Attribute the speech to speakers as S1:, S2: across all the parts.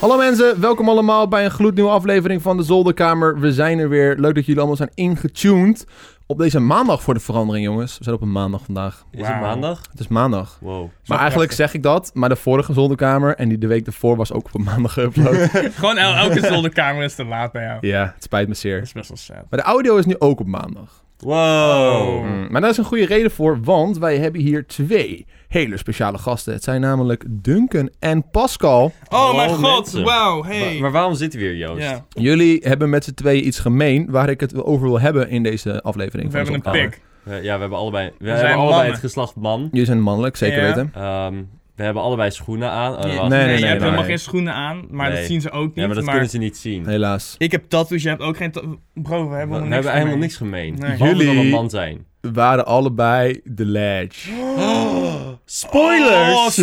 S1: Hallo mensen, welkom allemaal bij een gloednieuwe aflevering van de Zolderkamer. We zijn er weer. Leuk dat jullie allemaal zijn ingetuned. Op deze maandag voor de verandering, jongens. We zijn op een maandag vandaag.
S2: Is het
S3: Wauw.
S2: maandag?
S1: Het is maandag.
S2: Wow.
S1: Maar eigenlijk zeg ik dat, maar de vorige Zolderkamer en die de week ervoor was ook op een maandag geüpload.
S3: Gewoon el- elke zolderkamer is te laat bij jou.
S1: ja, het spijt me
S3: Dat
S1: zeer.
S3: is best wel sad.
S1: Maar de audio is nu ook op maandag.
S2: Wow.
S3: Oh.
S1: Mm, Maar daar is een goede reden voor, want wij hebben hier twee hele speciale gasten. Het zijn namelijk Duncan en Pascal.
S3: Oh mijn
S2: Oh,
S3: god,
S2: mensen.
S3: wauw,
S2: Maar,
S3: hey.
S2: maar waarom zitten we hier, Joost?
S3: Ja,
S1: Jullie hebben met z'n tweeën iets gemeen waar ik het over wil hebben in deze aflevering.
S3: we
S1: van de
S3: hebben een
S1: Zolderkamer.
S3: pik.
S2: Eh, ja, we hebben allebei, we
S3: zijn
S2: hebben allebei
S3: mannen.
S2: het geslacht man.
S1: Jullie zijn mannelijk, zeker
S3: Ja.
S1: weten.
S2: Ehm, we hebben allebei schoenen aan. Oh,
S3: Je-
S2: wacht.
S1: nee, nee,
S3: je
S1: nee,
S3: hebt
S1: nee.
S3: helemaal geen schoenen aan, maar
S2: Nee.
S3: dat zien ze ook niet.
S2: Ja, maar dat kunnen ze niet zien.
S1: Helaas.
S3: Ik heb tattoos, je hebt ook geen tattoos. Bro, we
S2: we
S3: hebben helemaal niks.
S2: hebben helemaal
S3: gemeen.
S2: niks gemeen.
S3: Nee.
S2: Behalve dat we
S1: Jullie-
S2: een man zijn.
S1: We waren allebei de ledge.
S3: Oh, spoilers,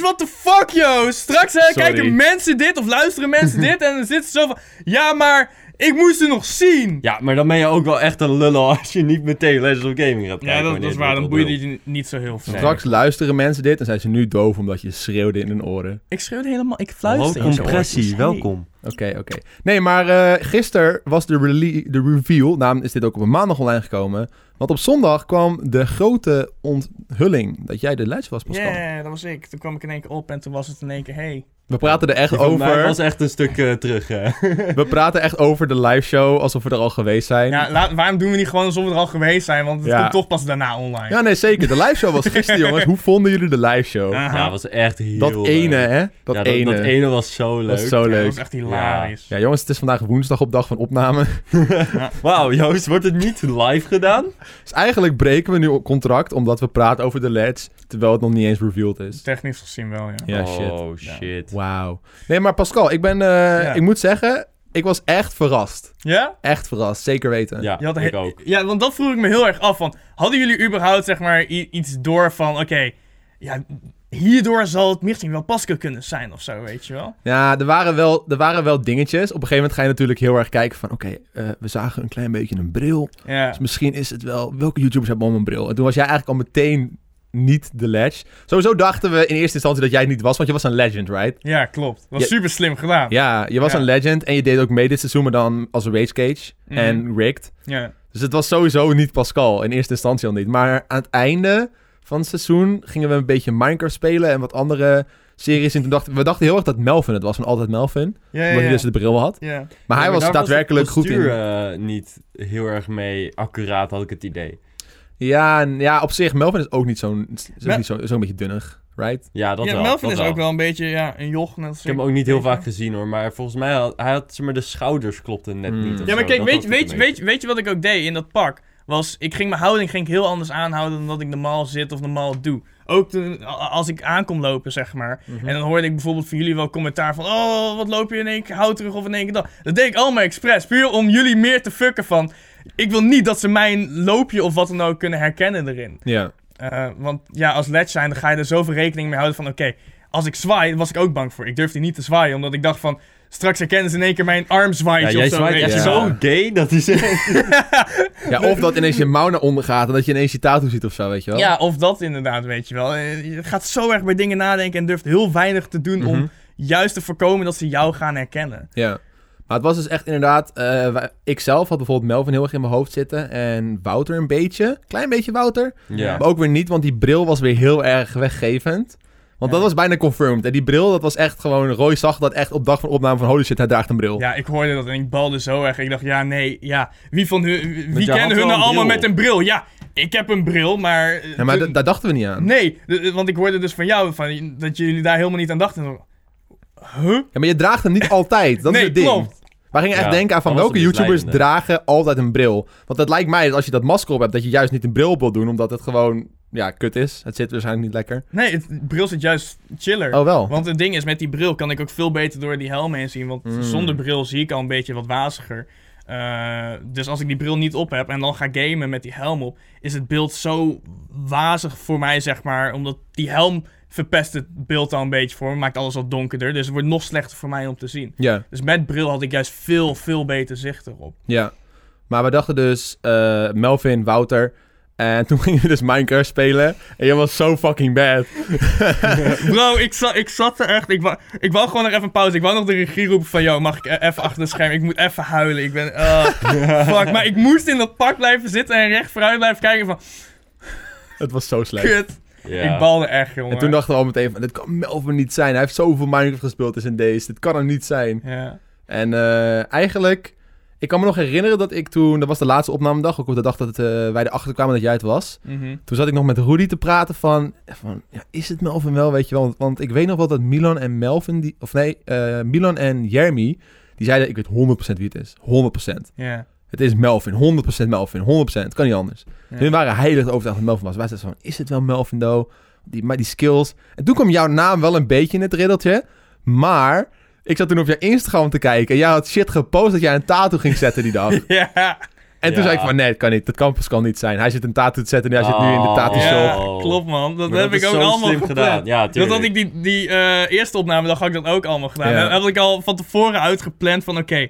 S3: what the fuck, yo. Straks hè,
S2: Sorry.
S3: kijken mensen dit of luisteren mensen dit en dan zitten ze zo van... Ja, maar ik moest ze nog zien.
S2: Ja, maar dan ben je ook wel echt een lullen als je niet meteen Legends of Gaming gaat kijken.
S3: Ja, dat,
S2: wanneer
S3: dat is
S2: het
S3: waar, dan
S2: wordt
S3: boeien
S2: onthuld.
S3: die niet zo heel veel.
S2: Nee.
S1: Straks luisteren mensen dit en zijn ze nu doof omdat je schreeuwde in hun oren.
S3: Ik schreeuwde helemaal, ik
S2: Hallo,
S3: in zijn
S2: compressie,
S3: oortjes.
S2: welkom.
S1: Oké, oké. Nee, maar eh gisteren was de, rele- de reveal, daarom is dit ook op een maandag online gekomen. Want op zondag kwam de grote onthulling dat jij de ledge was,
S3: Ja,
S1: Pascal.
S3: dat was ik. Toen kwam ik in één keer op en toen was het in één keer, hey.
S1: We praten er echt
S2: Die van mij was
S1: over.
S2: echt een stuk eh, terug, hè.
S1: We praten echt over de live show alsof we er al geweest zijn.
S3: Ja,
S1: Ja,
S3: laat- waarom doen we niet gewoon alsof we er al geweest zijn? Want het
S1: Ja. Oh,
S3: komt toch pas daarna online.
S1: nee, zeker. De live show was gisteren, jongens. Hoe vonden jullie de live show?
S3: Aha.
S2: Ja, was echt heel
S1: dat
S2: leuk.
S1: ene, hè? Dat
S2: Ja,
S1: ene.
S2: dat ene was zo
S1: Dat
S2: leuk.
S1: was zo
S3: Ja,
S1: leuk.
S3: Dat was echt hilarisch.
S1: Ja, jongens, het is vandaag woensdag op dag van opname.
S2: Wauw, Joost, wordt het niet live gedaan?
S1: Dus eigenlijk breken we nu op contract omdat we praten over de ledge, terwijl het nog niet eens revealed is.
S3: Technisch gezien wel, ja.
S1: Ja, shit.
S2: Oh, shit.
S1: Wauw. Nee, maar Pascal, ik ben, eh, ik moet zeggen, ik was echt verrast.
S3: Ja?
S1: Echt verrast, zeker weten.
S2: Ja,
S3: Je had
S2: ik
S3: he-
S2: ook.
S3: Ja, want dat vroeg ik me heel erg af. Van, hadden jullie überhaupt zeg maar, i- iets door van, oké, ja, hierdoor zal het misschien wel Pascal kunnen zijn of zo, weet je wel?
S1: Ja, er waren wel, er waren wel dingetjes. Op een gegeven moment ga je natuurlijk heel erg kijken van, oké, eh, we zagen een klein beetje een bril.
S3: Ja.
S1: Dus misschien is het wel, welke YouTubers hebben allemaal een bril? En toen was jij eigenlijk al meteen niet de ledge. Sowieso dachten we in eerste instantie dat jij het niet was, want je was een legend, right?
S3: Ja, klopt. Dat was
S1: Ja.
S3: super slim gedaan.
S1: Ja, je was
S3: Ja.
S1: een legend en je deed ook mee dit seizoen, maar dan als Rage Cage
S3: Mhm.
S1: en Rigged.
S3: Ja.
S1: Dus het was sowieso niet Pascal, in eerste instantie al niet. Maar aan het einde van het seizoen gingen we een beetje Minecraft spelen en wat andere series. En toen dachten we dachten heel erg dat Melvin het was, van altijd Melvin.
S3: Ja, ja,
S1: Omdat hij
S3: ja.
S1: dus de bril had.
S3: Ja.
S1: Maar hij
S2: Ja,
S1: was
S2: daar
S1: daadwerkelijk
S2: het
S1: goed in.
S2: postuur, eh, niet heel erg mee accuraat, had ik het idee.
S1: Ja, en- ja, op zich, Melvin is ook niet zo'n is ook
S3: Mel-
S1: niet zo, is ook een beetje dunnig, right?
S2: Ja, dat
S3: Ja,
S2: wel.
S3: Melvin
S2: dat
S3: is ook wel een beetje ja, een joch. Net als
S2: Ik heb hem ook niet heel vaak gezien hoor, maar volgens mij had hij had zeg maar, de schouders klopten net
S1: Hmm.
S2: niet. of
S3: Mm. Ja, maar
S2: zo.
S3: kijk,
S2: Dat
S3: weet,
S2: had
S3: je-
S2: ik
S3: weet, je-
S2: een
S3: weet,
S2: beetje.
S3: je- weet je wat ik ook deed in dat pak? Was, ik ging mijn houding ging ik heel anders aanhouden dan dat ik normaal zit of normaal doe. Ook toen, a- als ik aankom lopen, zeg maar.
S2: Mhm.
S3: En dan hoorde ik bijvoorbeeld van jullie wel commentaar van... Oh, wat loop je in één keer hout terug of in één keer dat. Dat deed ik allemaal expres. Puur om jullie meer te fucken van... Ik wil niet dat ze mijn loopje of wat dan ook kunnen herkennen erin.
S1: Ja.
S3: Eh, want ja, als ledge zijn, dan ga je er zoveel rekening mee houden van... Oké, als ik zwaai, was ik ook bang voor. Ik durfde niet te zwaaien, omdat ik dacht van... Straks herkennen ze in één keer mijn armzwaaitje
S2: Ja, jij
S3: of zo.
S2: zwaait
S3: weet
S2: echt
S3: je
S1: Ja.
S3: wel.
S2: zo gay, dat is echt...
S1: ja, of dat ineens je mouw naar onder gaat en dat je ineens je tattoo ziet of zo, weet je wel?
S3: Ja, of dat inderdaad, weet je wel. Eh, Je gaat zo erg bij dingen nadenken en durft heel weinig te doen
S1: Mhm.
S3: om juist te voorkomen dat ze jou gaan herkennen.
S1: Ja. Maar het was dus echt inderdaad... eh, wij- ik zelf had bijvoorbeeld Melvin heel erg in mijn hoofd zitten. En Wouter een beetje. Klein beetje Wouter.
S2: ja.
S1: Maar ook weer niet, want die bril was weer heel erg weggevend. Want dat
S3: Ja.
S1: was bijna confirmed. En die bril, dat was echt gewoon... Roy zag dat echt op dag van opname van... Holy shit, hij draagt een bril.
S3: Ja, ik hoorde dat en ik balde zo erg. Ik dacht, ja, nee, ja. Wie van hun, wie-
S2: Want
S3: wie
S2: jij had
S3: kennen hun
S2: wel
S3: nou
S2: een
S3: allemaal
S2: bril.
S3: met een bril? Ja, ik heb een bril, maar... eh,
S1: Ja, maar
S3: toen-
S1: d- daar dachten we niet aan.
S3: nee, d- d- want ik hoorde dus van jou van, dat jullie daar helemaal niet aan dachten. Huh?
S1: Ja, maar je draagt hem niet altijd. Dat
S3: nee,
S1: is het ding.
S3: klopt.
S1: Wij gingen echt
S2: Ja,
S1: denken aan van
S2: dat was
S1: welke
S2: het
S1: YouTubers
S2: misleidende.
S1: dragen altijd een bril. Want het lijkt mij dat als je dat masker op hebt... dat je juist niet een bril op wilt doen, omdat het gewoon... Ja, kut is. Het zit waarschijnlijk niet lekker.
S3: Nee, het bril zit juist chiller.
S1: Oh, wel.
S3: Want het ding is, met die bril kan ik ook veel beter door die helm heen zien. Want
S1: Mm.
S3: zonder bril zie ik al een beetje wat waziger. Eh, dus als ik die bril niet op heb en dan ga gamen met die helm op, is het beeld zo wazig voor mij, zeg maar. Omdat die helm verpest het beeld al een beetje voor me, maakt alles wat donkerder. Dus het wordt nog slechter voor mij om te zien.
S1: Ja.
S3: Dus met bril had ik juist veel, veel beter zicht erop.
S1: Ja, maar we dachten dus eh, Melvin, Wouter. eh, En toen gingen we dus Minecraft spelen. En jij was zo fucking bad.
S3: Bro, ik, za ik zat er echt. Ik, wou, ik wou gewoon nog even een pauze. Ik wou nog de regie roepen van: Yo, mag ik eh, even achter het scherm? Ik moet even huilen. Ik ben. ah, fuck. Maar ik moest in dat pak blijven zitten en recht vooruit blijven kijken. Van:
S1: Het was zo slecht.
S3: Kut.
S2: Ja.
S3: Ik balde echt, jongen.
S1: En toen dachten we al meteen van, dit kan Melvin niet zijn. Hij heeft zoveel Minecraft gespeeld in zijn days. Dit kan hem niet zijn.
S3: Ja.
S1: En eh, eigenlijk, ik kan me nog herinneren dat ik toen... Dat was de laatste opnamedag, ook op de dag dat eh, wij erachter kwamen dat jij het was.
S3: Mhm.
S1: Toen zat ik nog met Rudy te praten van, van ja, is het Melvin wel, weet je wel? Want, want ik weet nog wel dat Milan en Melvin, die, of nee, eh, Milan en Jeremy, die zeiden, ik weet 100% wie het is. 100%.
S3: Ja.
S1: Het is Melvin, 100% Melvin, 100%. Het kan niet anders.
S3: Ja.
S1: Hun waren heilig overtuigd dat Melvin was. Wij zeiden van, is het wel Melvin, though? Die, maar die skills. En toen kwam jouw naam wel een beetje in het riddeltje, maar... Ik zat toen op jouw Instagram te kijken en jij had shit gepost dat jij een tattoo ging zetten die dag.
S3: Ja.
S1: En toen
S2: Ja.
S1: zei ik van, nee, dat kan niet. Dat kan Pascal niet zijn. Hij zit een tattoo te zetten en hij zit nu in de
S2: Oh.
S1: tattoo shop.
S3: Ja,
S2: zo.
S3: klopt man. Dat
S2: Maar
S3: heb ik
S2: is
S3: ook
S2: zo
S3: allemaal
S2: slim gedaan. Ja,
S3: Dat
S2: tuurlijk.
S3: had ik die, die eh, eerste opname, dan had ik dat ook allemaal gedaan.
S1: Ja.
S3: Dan had ik al van tevoren uitgepland van oké,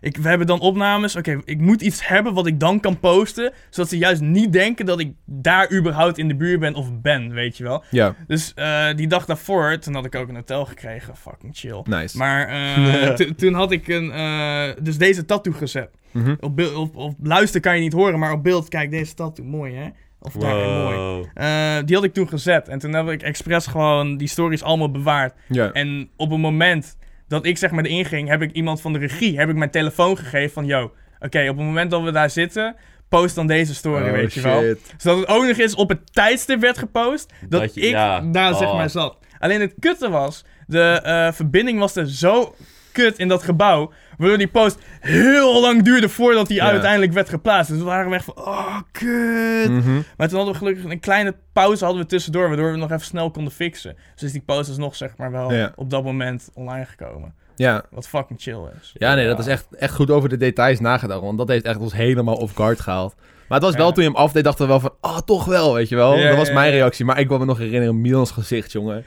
S3: ik we hebben dan opnames. Oké, ik moet iets hebben wat ik dan kan posten. Zodat ze juist niet denken dat ik daar überhaupt in de buurt ben of ben, weet je wel.
S1: Ja,
S3: Dus eh, die dag daarvoor, toen had ik ook een hotel gekregen. Fucking chill.
S1: nice.
S3: Maar eh, to- toen had ik een, eh, dus deze tattoo gezet.
S1: Mhm.
S3: Op, beeld- op, op luister kan je niet horen, maar op beeld, kijk deze tattoo, mooi hè? Of daar, mooi.
S2: Wow.
S3: Eh, die had ik toen gezet. En toen heb ik expres gewoon die stories allemaal bewaard.
S1: Ja.
S3: En op het moment dat ik zeg maar erin ging, heb ik iemand van de regie, heb ik mijn telefoon gegeven van... Yo, oké, op het moment dat we daar zitten, post dan deze story,
S1: Oh,
S3: weet je wel.
S1: shit.
S3: Zodat het ook nog eens op het tijdstip werd gepost dat,
S2: Dat je-
S3: ik
S2: ja.
S3: daar zeg
S2: Oh.
S3: maar zat. Alleen het kutte was, de eh, verbinding was er zo kut in dat gebouw, waardoor die post heel lang duurde voordat die
S1: Ja.
S3: uiteindelijk werd geplaatst. Dus we waren weg van, oh, kut.
S1: Mhm.
S3: Maar toen hadden we gelukkig een kleine pauze hadden we tussendoor, waardoor we het nog even snel konden fixen. Dus is die pauze is nog zeg maar wel
S1: Ja.
S3: op dat moment online gekomen.
S1: Ja.
S3: Wat fucking chill is.
S1: ja, nee, dat is echt, echt goed over de details nagedacht. Want dat heeft echt ons helemaal off guard gehaald. Maar het was wel
S3: Ja.
S1: toen je hem afdeed, dachten we wel van, ah, toch wel, weet je wel.
S3: Ja,
S1: dat was
S3: ja,
S1: mijn
S3: ja.
S1: reactie. Maar ik wil me nog herinneren, Milans gezicht, jongen.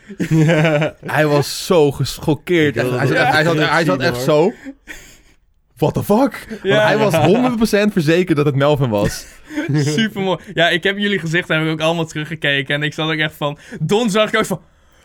S1: Hij was zo geschokkeerd.
S2: Ik wil
S1: Echt,
S2: dat
S1: Hij zat,
S3: echt
S1: hij zat,
S2: niet
S1: hij zat
S2: zien,
S1: echt zo... What the fuck? Want
S3: Ja.
S1: hij was 100% verzekerd dat het Melvin was.
S3: Super mooi. Ja, ik heb jullie gezichten heb ik ook allemaal teruggekeken en ik zat ook echt van, Don zag ik ook van,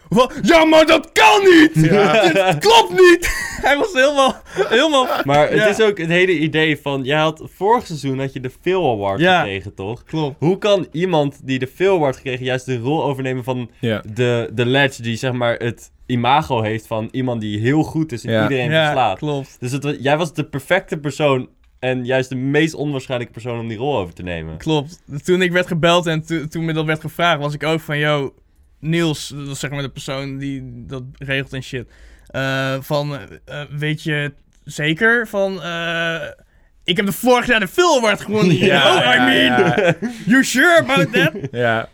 S3: "Wa- ja maar dat kan niet! Dit klopt niet! Hij was helemaal, helemaal,
S2: Maar het
S3: Ja.
S2: is ook het hele idee van... Jij had, vorig seizoen had je de Phil Award
S3: Ja.
S2: gekregen, toch?
S3: klopt.
S2: Hoe kan iemand die de Phil Award gekregen... juist de rol overnemen van
S1: Ja.
S2: de, de ledge... die zeg maar het imago heeft van iemand die heel goed is... en
S1: Ja.
S2: iedereen
S3: Ja,
S2: verslaat.
S3: klopt.
S2: Dus het, wa- jij was de perfecte persoon... en juist de meest onwaarschijnlijke persoon om die rol over te nemen.
S3: Klopt. Toen ik werd gebeld en to- toen me dat werd gevraagd, was ik ook van, yo, Niels, dat is zeg maar de persoon die dat regelt en shit. eh, van, eh, eh, weet je zeker van, eh, ik heb de vorig jaar de Phil Award gewonnen. you know, oh, I mean,
S1: ja,
S3: you sure about that?
S1: ja.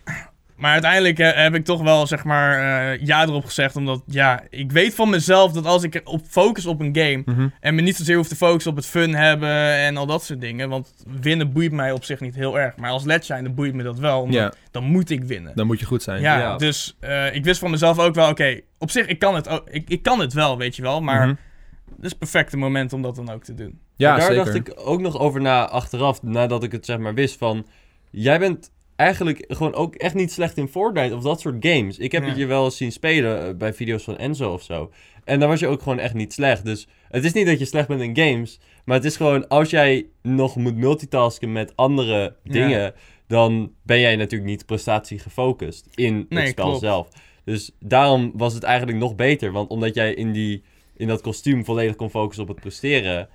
S3: maar uiteindelijk eh, heb ik toch wel, zeg maar, eh, ja erop gezegd. Omdat, ja, ik weet van mezelf dat als ik er op focus op een game,
S1: Mhm.
S3: en me niet zozeer hoef te focussen op het fun hebben en al dat soort dingen. Want winnen boeit mij op zich niet heel erg. Maar als led dan boeit me dat wel. Omdat
S1: ja,
S3: Dan moet ik winnen.
S1: dan moet je goed zijn.
S3: ja,
S2: ja.
S3: dus eh, ik wist van mezelf ook wel, oké, op zich, ik kan, het ook, ik, ik kan het wel, weet je wel. Maar
S1: Mhm.
S3: het is het perfecte moment om dat dan ook te doen.
S1: ja
S2: Maar daar
S1: zeker.
S2: dacht ik ook nog over na achteraf, nadat ik het zeg maar wist van... Jij bent eigenlijk gewoon ook echt niet slecht in Fortnite of dat soort games. Ik heb
S3: Ja.
S2: het je wel eens zien spelen eh, bij video's van Enzo of zo. En dan was je ook gewoon echt niet slecht. Dus het is niet dat je slecht bent in games. Maar het is gewoon, als jij nog moet multitasken met andere
S3: Ja.
S2: dingen... dan ben jij natuurlijk niet prestatie gefocust in
S3: Nee,
S2: het spel
S3: klopt.
S2: zelf. Dus daarom was het eigenlijk nog beter. Want omdat jij in, die, in dat kostuum volledig kon focussen op het presteren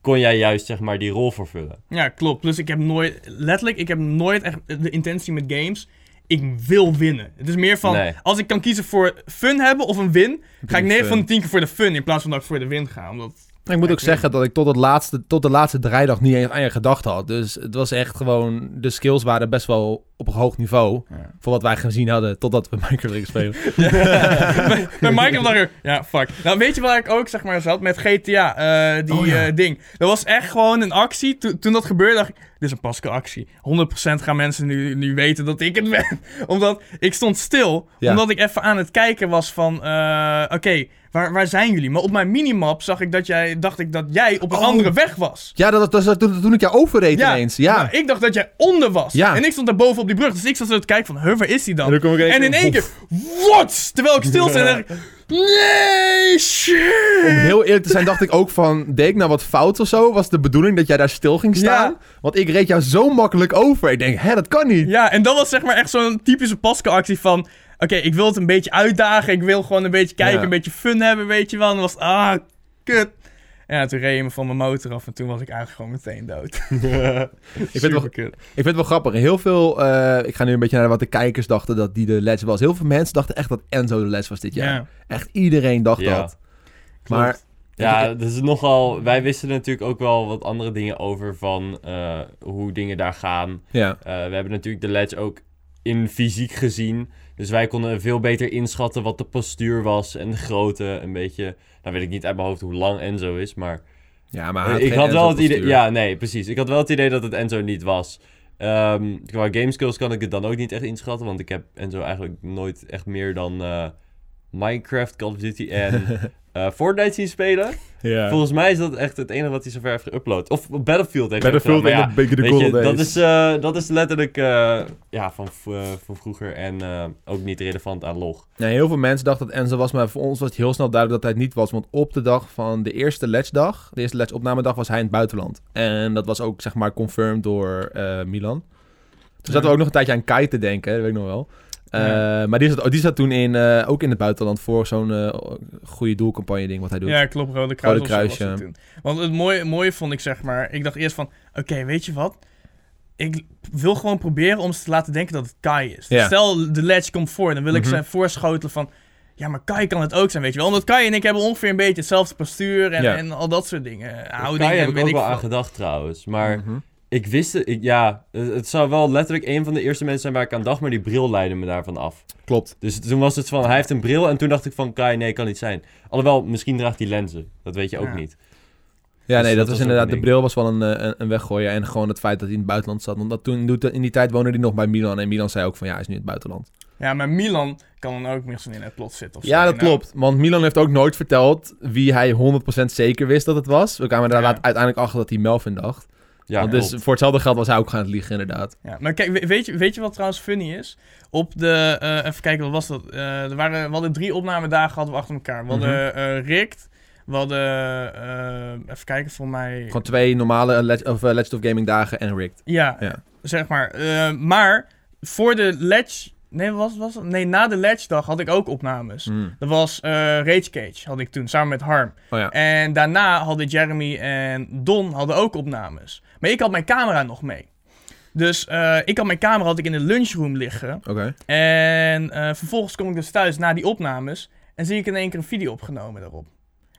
S2: kon jij juist zeg maar die rol vervullen.
S3: Ja, klopt. Plus ik heb nooit, letterlijk, ik heb nooit echt de intentie met games. Ik wil winnen. Het is meer van,
S2: Nee.
S3: als ik kan kiezen voor fun hebben of een win, ga ik 9
S1: fun.
S3: van de 10 keer voor de fun in plaats van dat ik voor de win ga. Omdat
S1: Ik moet ook
S3: Ik-
S1: zeggen dat ik tot, het laatste, tot de laatste draaidag niet eens aan je gedacht had. Dus het was echt gewoon... De skills waren best wel op een hoog niveau.
S4: Ja.
S1: Voor wat wij gezien hadden totdat we Minecraft gingen spelen.
S3: bij, bij Minecraft dacht ik, ja, fuck. Nou, weet je waar ik ook zeg maar zat met GTA, eh, die
S1: Oh, ja.
S3: eh, ding. Dat was echt gewoon een actie. Toen- toen dat gebeurde, dacht ik, dit is een paske actie. 100% gaan mensen nu, nu weten dat ik het ben. Omdat ik stond stil,
S1: Ja.
S3: omdat ik even aan het kijken was van, eh, oké, waar, waar zijn jullie? Maar op mijn minimap zag ik dat jij, dacht ik dat jij op een
S1: Oh.
S3: andere weg was.
S1: Ja, dat, was- dat, was toen, toen ik jou overreed ineens. Ja.
S3: maar Nou, ik dacht dat jij onder was.
S1: Ja.
S3: En ik stond daar boven op die brug. Dus ik zat zo te kijken van, huh, waar is die dan?
S1: kom ik
S3: En in één keer, wat? Terwijl ik stil zit, dacht ik, nee,
S1: Om
S3: shit.
S1: heel eerlijk te zijn dacht ik ook van... Deed ik nou wat fout of zo? Was de bedoeling dat jij daar stil ging staan?
S3: Ja.
S1: Want ik reed jou zo makkelijk over. Ik denk, hè, dat kan niet.
S3: Ja, en dat was zeg maar echt zo'n typische Pascal-actie van, oké, ik wil het een beetje uitdagen, ik wil gewoon een beetje kijken,
S1: Ja.
S3: een beetje fun hebben, weet je wel. En dan was het, ah, kut. Ja, toen reed je me van mijn motor af en toen was ik eigenlijk gewoon meteen dood.
S1: Ik vind, het wel,
S3: kut.
S1: ik vind het wel grappig. Heel veel... eh, ik ga nu een beetje naar wat de kijkers dachten dat die de les was. Heel veel mensen dachten echt dat Enzo de les was dit jaar.
S3: Ja,
S1: Echt iedereen dacht
S2: Ja.
S1: dat. Maar
S2: Ja, dat is nogal. Wij wisten natuurlijk ook wel wat andere dingen over van eh, hoe dingen daar gaan.
S1: ja.
S2: Eh, we hebben natuurlijk de ledge ook in fysiek gezien. Dus wij konden veel beter inschatten wat de postuur was en de grootte. Een beetje. Nou weet ik niet uit mijn hoofd hoe lang Enzo is, maar
S1: ja, maar hij
S2: ik
S1: geen
S2: had wel het
S1: Enzo-postuur.
S2: idee. Ja, nee, precies. Ik had wel het idee dat het Enzo niet was. Ehm qua gameskills kan ik het dan ook niet echt inschatten, want ik heb Enzo eigenlijk nooit echt meer dan eh, Minecraft, Call of Duty en eh, Fortnite zien spelen. Volgens mij is dat echt het enige wat hij zover heeft geüpload. Of Battlefield heeft hij
S1: Battlefield
S2: gedaan,
S1: in
S2: maar
S1: de Big
S2: ja,
S1: the
S2: weet je,
S1: Golden
S2: dat,
S1: Days.
S2: is, eh, dat is letterlijk eh, ja, van, v- eh, van vroeger en eh, ook niet relevant aan log.
S1: Nee, heel veel mensen dachten dat Enzo was, maar voor ons was het heel snel duidelijk dat hij het niet was. Want op de dag van de eerste ledgedag, de eerste ledgeopnamedag, was hij in het buitenland. En dat was ook, zeg maar, confirmed door eh, Milan. Toen zaten
S3: Ja.
S1: we ook nog een tijdje aan Kai te denken, dat weet ik nog wel. Eh, Maar die zat, die zat toen in, eh, ook in het buitenland voor zo'n eh, goede doelcampagne ding wat hij doet.
S3: ja klopt, Rode Kruis.
S1: Rode
S3: of zo was
S1: Kruis,
S3: het
S1: ja.
S3: toen. Want het mooie, mooie vond ik zeg maar, ik dacht eerst van, oké, weet je wat? Ik wil gewoon proberen om ze te laten denken dat het Kai is.
S1: Ja.
S3: Stel, de ledge komt voor, dan wil ik
S1: Mhm.
S3: ze voorschotelen van, ja, maar Kai kan het ook zijn, weet je wel. Omdat Kai en ik hebben ongeveer een beetje hetzelfde postuur en,
S1: Ja.
S3: en al dat soort dingen. Eh,
S2: Daar
S3: Houding
S2: heb
S3: en
S2: ik
S3: weet
S2: ook
S3: ik
S2: wel aan
S3: veel.
S2: gedacht trouwens, maar...
S1: Mhm.
S2: Ik wist het, ik- ja, het, het zou wel letterlijk een van de eerste mensen zijn waar ik aan dacht, maar die bril leidde me daarvan af.
S1: Klopt.
S2: Dus toen was het van, hij heeft een bril en toen dacht ik van, Kai, nee, kan niet zijn. Alhoewel, misschien draagt hij lenzen, dat weet je ook
S3: Ja.
S2: niet.
S1: Ja, nee, dat,
S2: Dus dat was ook
S1: was inderdaad,
S2: een
S1: de
S2: ding.
S1: bril was wel een, eh, een, een weggooien. En gewoon het feit dat hij in het buitenland zat. Want dat toen, in die tijd woonde hij nog bij Milan. En Milan zei ook van, ja, hij is nu in het buitenland.
S3: Ja, maar Milan kan dan ook misschien in het plot zitten of zo.
S1: Ja, dat
S3: Nou,
S1: klopt. Want Milan heeft ook nooit verteld wie hij 100% zeker wist dat het was. We kwamen daar
S3: Ja.
S1: laat- uiteindelijk achter dat hij Melvin dacht.
S2: Ja,
S1: want dus
S2: klopt.
S1: voor hetzelfde geld was hij ook gaan het liegen, inderdaad.
S3: Ja, maar kijk, we- weet je, weet je wat trouwens funny is? Op de, eh, even kijken, wat was dat? Eh, er waren, we hadden drie opnamedagen hadden we achter elkaar. We hadden
S1: Mhm.
S3: eh, Rikt, we hadden, eh, even kijken, voor mij...
S1: Gewoon twee normale eh, Leg- of, eh, Legend of Gaming dagen en rigged.
S3: Ja,
S1: Ja.
S3: zeg maar. Eh, maar voor de ledge... Nee, wat was, was dat? Nee, na de ledge dag had ik ook opnames.
S1: Mm.
S3: Dat was eh, Rage Cage, had ik toen, samen met Harm.
S1: Oh ja.
S3: En daarna hadden Jeremy en Don hadden ook opnames. Maar ik had mijn camera nog mee. Dus eh, ik had mijn camera had ik in de lunchroom liggen.
S1: Oké.
S3: En eh, vervolgens kom ik dus thuis na die opnames. En zie ik in één keer een video opgenomen daarop.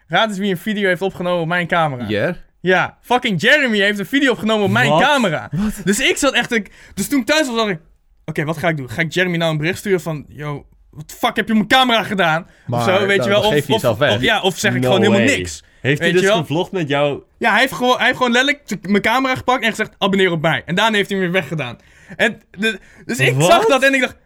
S3: Raad eens wie een video heeft opgenomen op mijn camera.
S1: Yeah.
S3: Ja, fucking Jeremy heeft een video opgenomen op mijn
S2: Wat?
S3: camera. Dus ik zat echt... ik- Dus toen ik thuis was, dacht ik... Oké, wat ga ik doen? Ga ik Jeremy nou een bericht sturen van... Yo, wat de fuck heb je op mijn camera gedaan?
S1: Maar nou,
S3: of zo, weet
S1: dan
S3: je wel.
S1: geef
S3: Of,
S1: je
S3: of-
S1: jezelf weg.
S3: of- ja, of zeg ik
S2: No
S3: gewoon helemaal
S2: way.
S3: niks.
S2: Heeft hij
S3: Weet
S2: dus
S3: je wel?
S2: gevlogd met jou?
S3: Ja, hij heeft gewoon, hij heeft gewoon letterlijk t- mijn camera gepakt en gezegd: abonneer op mij. En daarna heeft hij hem weer weggedaan. En de- dus ik
S2: Wat?
S3: zag dat en ik dacht: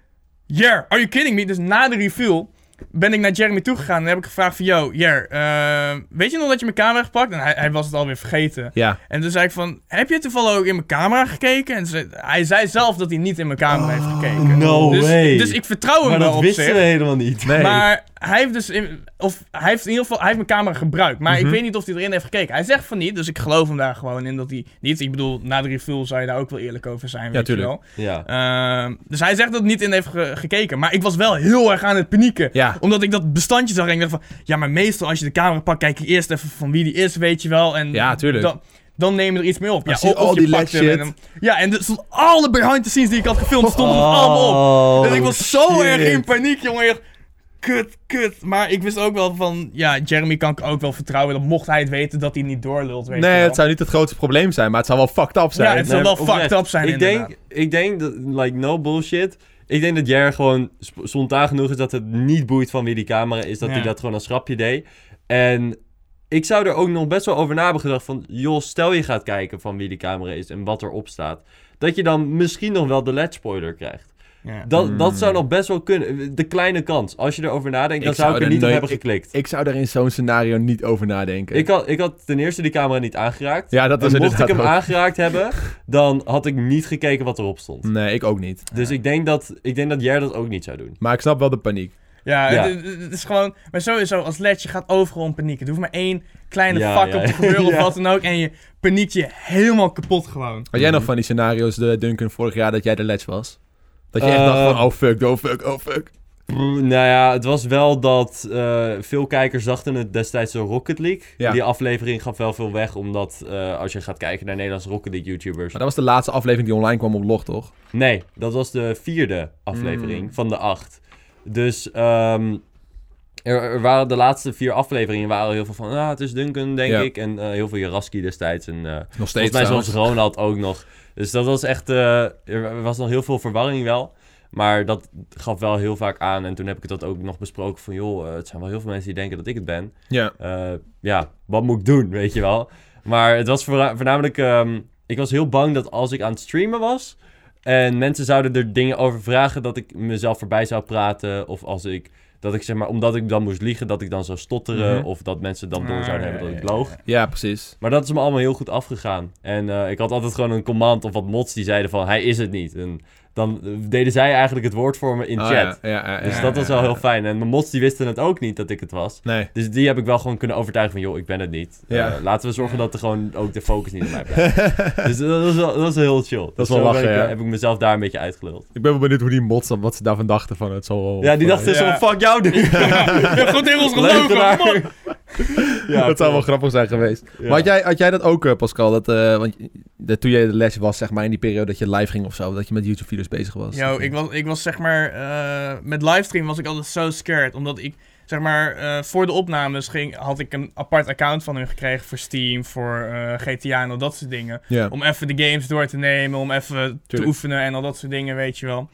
S3: Yeah, are you kidding me? Dus na de review ben ik naar Jeremy toegegaan en heb ik gevraagd: van, Yo, Jer, eh, weet je nog dat je mijn camera hebt gepakt? En hij, hij was het alweer vergeten.
S1: Ja.
S3: En toen zei ik: van, Heb je toevallig ook in mijn camera gekeken? En ze- hij zei zelf dat hij niet in mijn camera heeft gekeken.
S2: Ah, No
S3: dus,
S2: way.
S3: dus ik vertrouw hem
S2: maar
S3: wel
S2: dat
S3: op
S2: wisten
S3: zich.
S2: we helemaal niet.
S1: Nee.
S3: Maar hij heeft dus, in, of hij heeft in ieder geval, hij heeft mijn camera gebruikt. Maar ik
S1: Mhm.
S3: weet niet of hij erin heeft gekeken. Hij zegt van niet, dus ik geloof hem daar gewoon in dat hij niet. Ik bedoel, na de review zou je daar ook wel eerlijk over zijn. weet je
S1: tuurlijk.
S3: wel.
S2: Ja.
S3: Ehm, dus hij zegt dat hij niet in heeft ge- gekeken. Maar ik was wel heel erg aan het panieken.
S1: Ja.
S3: Omdat ik dat bestandje zag en ik dacht van, ja, maar meestal als je de camera pakt, kijk je eerst even van wie die is, weet je wel. En
S1: Ja, tuurlijk.
S3: Dan, dan neem je er iets mee op.
S1: zie je
S3: of- of
S1: al
S3: je
S1: die
S3: pakt
S1: leg
S3: hem
S1: shit.
S3: en dan- ja, en er stond
S1: Oh.
S3: alle behind the scenes die ik had gefilmd, stonden er allemaal op.
S2: Oh,
S3: Dus ik was zo
S2: shit.
S3: erg in paniek, jongen. Echt, kut, kut. Maar ik wist ook wel van, ja, Jeremy kan ik ook wel vertrouwen. Dat mocht hij het weten, dat hij niet doorlult, weet je
S1: Nee,
S3: wel.
S1: het zou niet het grootste probleem zijn, maar het zou wel fucked up zijn.
S3: Ja, het zou
S2: Nee,
S3: wel fucked
S2: oprecht.
S3: up zijn
S2: ik
S3: inderdaad.
S2: denk, ik denk dat, like, no bullshit. Ik denk dat Jer gewoon sp- spontaan genoeg is dat het niet boeit van wie die camera is. Dat
S3: Ja.
S2: hij dat gewoon als grapje deed. En ik zou er ook nog best wel over na hebben gedacht van... joh, stel je gaat kijken van wie die camera is en wat erop staat. Dat je dan misschien nog wel de LED spoiler krijgt.
S3: Ja.
S2: Dat, dat
S3: Hmm.
S1: Mm.
S2: zou nog best wel kunnen. De kleine kans. Als je erover nadenkt,
S1: Ik
S2: dan zou
S1: zou
S2: ik
S1: er
S2: er niet op
S1: nooit-
S2: hebben geklikt.
S1: Ik zou daar in zo'n scenario niet over nadenken.
S2: Ik had, ik had ten eerste die camera niet aangeraakt.
S1: ja, dat is
S2: en mocht ik
S1: inderdaad
S2: hem
S1: ook-
S2: aangeraakt hebben, dan had ik niet gekeken wat erop stond.
S1: Nee, ik ook niet.
S2: Dus ik denk dat, ik denk dat Jer dat ook niet zou doen.
S1: Maar ik snap wel de paniek.
S3: Ja,
S2: Ja.
S3: Het, het- het is gewoon... Maar sowieso, als led, je gaat overal in paniek. Er hoeft maar één kleine
S2: Ja,
S3: fuck
S2: ja.
S3: op te gebeuren of
S2: Ja.
S3: wat dan ook. En je paniekt je helemaal kapot gewoon.
S1: Had jij nog
S2: Mhm.
S1: van die scenario's, de Duncan, vorig jaar dat jij de ledge was? Dat je echt
S2: Eh,
S1: dacht van, oh fuck, oh fuck, oh fuck.
S2: Brr, nou ja, het was wel dat eh, veel kijkers dachten het destijds zo Rocket League.
S1: Ja.
S2: Die aflevering gaf wel veel weg, omdat eh, als je gaat kijken naar Nederlandse Rocket League YouTubers.
S1: Maar dat was de laatste aflevering die online kwam op log, toch?
S2: Nee, dat was de vierde aflevering
S1: Mm.
S2: van de acht. Dus ehm, er, er waren de laatste vier afleveringen waren heel veel van, ah, het is Duncan, denk
S1: Ja.
S2: ik. En eh, heel veel Jaraski destijds. En, eh,
S1: Nog steeds
S2: Volgens mij
S1: trouwens.
S2: zoals Ronald ook nog. Dus dat was echt... eh, er was nog heel veel verwarring wel. Maar dat gaf wel heel vaak aan. En toen heb ik dat ook nog besproken van... joh, eh, het zijn wel heel veel mensen die denken dat ik het ben.
S1: Ja.
S2: Eh, ja, wat moet ik doen, weet je wel? Maar het was voorna- voornamelijk... ehm, ik was heel bang dat als ik aan het streamen was... en mensen zouden er dingen over vragen... dat ik mezelf voorbij zou praten. Of als ik... dat ik zeg maar... omdat ik dan moest liegen, dat ik dan zou stotteren.
S1: Mhm.
S2: Of dat mensen dan door
S3: Ah,
S2: zouden
S3: ja,
S2: hebben dat
S3: ja,
S2: ik loog.
S1: ja, precies.
S2: Maar dat is me allemaal heel goed afgegaan. En eh, ik had altijd gewoon een command of wat mods die zeiden van hij is het niet. En dan eh, deden zij eigenlijk het woord voor me in
S1: Oh,
S2: chat.
S1: Ja, ja, ja, ja,
S2: Dus
S1: ja,
S2: dat was
S1: ja,
S2: wel
S1: ja.
S2: heel fijn. En mijn mods die wisten het ook niet dat ik het was.
S1: Nee.
S2: Dus die heb ik wel gewoon kunnen overtuigen van joh, ik ben het niet.
S1: Ja.
S2: Eh, laten we zorgen dat er gewoon ook de focus niet op mij blijft. dus dat was, wel, dat was heel chill. Dat
S1: wel lachen,
S2: heb ik, eh,
S1: ja.
S2: heb ik mezelf daar een beetje uitgeluld.
S1: Ik ben wel benieuwd hoe die mods, dan- wat ze daarvan dachten van het zal wel...
S2: Ja, die dachten
S3: Ja.
S2: zo van fuck jou dude.
S3: je hebt goed in ons
S2: Leuk
S3: gelogen,
S2: gedaan.
S3: man.
S2: Ja,
S1: dat zou wel grappig zijn geweest.
S2: ja.
S1: Maar had jij, had jij dat ook, eh, Pascal? Dat, eh, want je- dat toen jij de les was, zeg maar, in die periode dat je live ging of zo, dat je met YouTube-video's bezig was.
S3: Yo, ik was, ik was zeg maar... eh, met livestream was ik altijd zo scared. Omdat ik, zeg maar, eh, voor de opnames ging, had ik een apart account van hun gekregen voor Steam, voor eh, GTA en al dat soort dingen.
S1: Ja.
S3: Om even de games door te nemen, om even te
S1: Tuurlijk.
S3: oefenen en al dat soort dingen, weet je wel.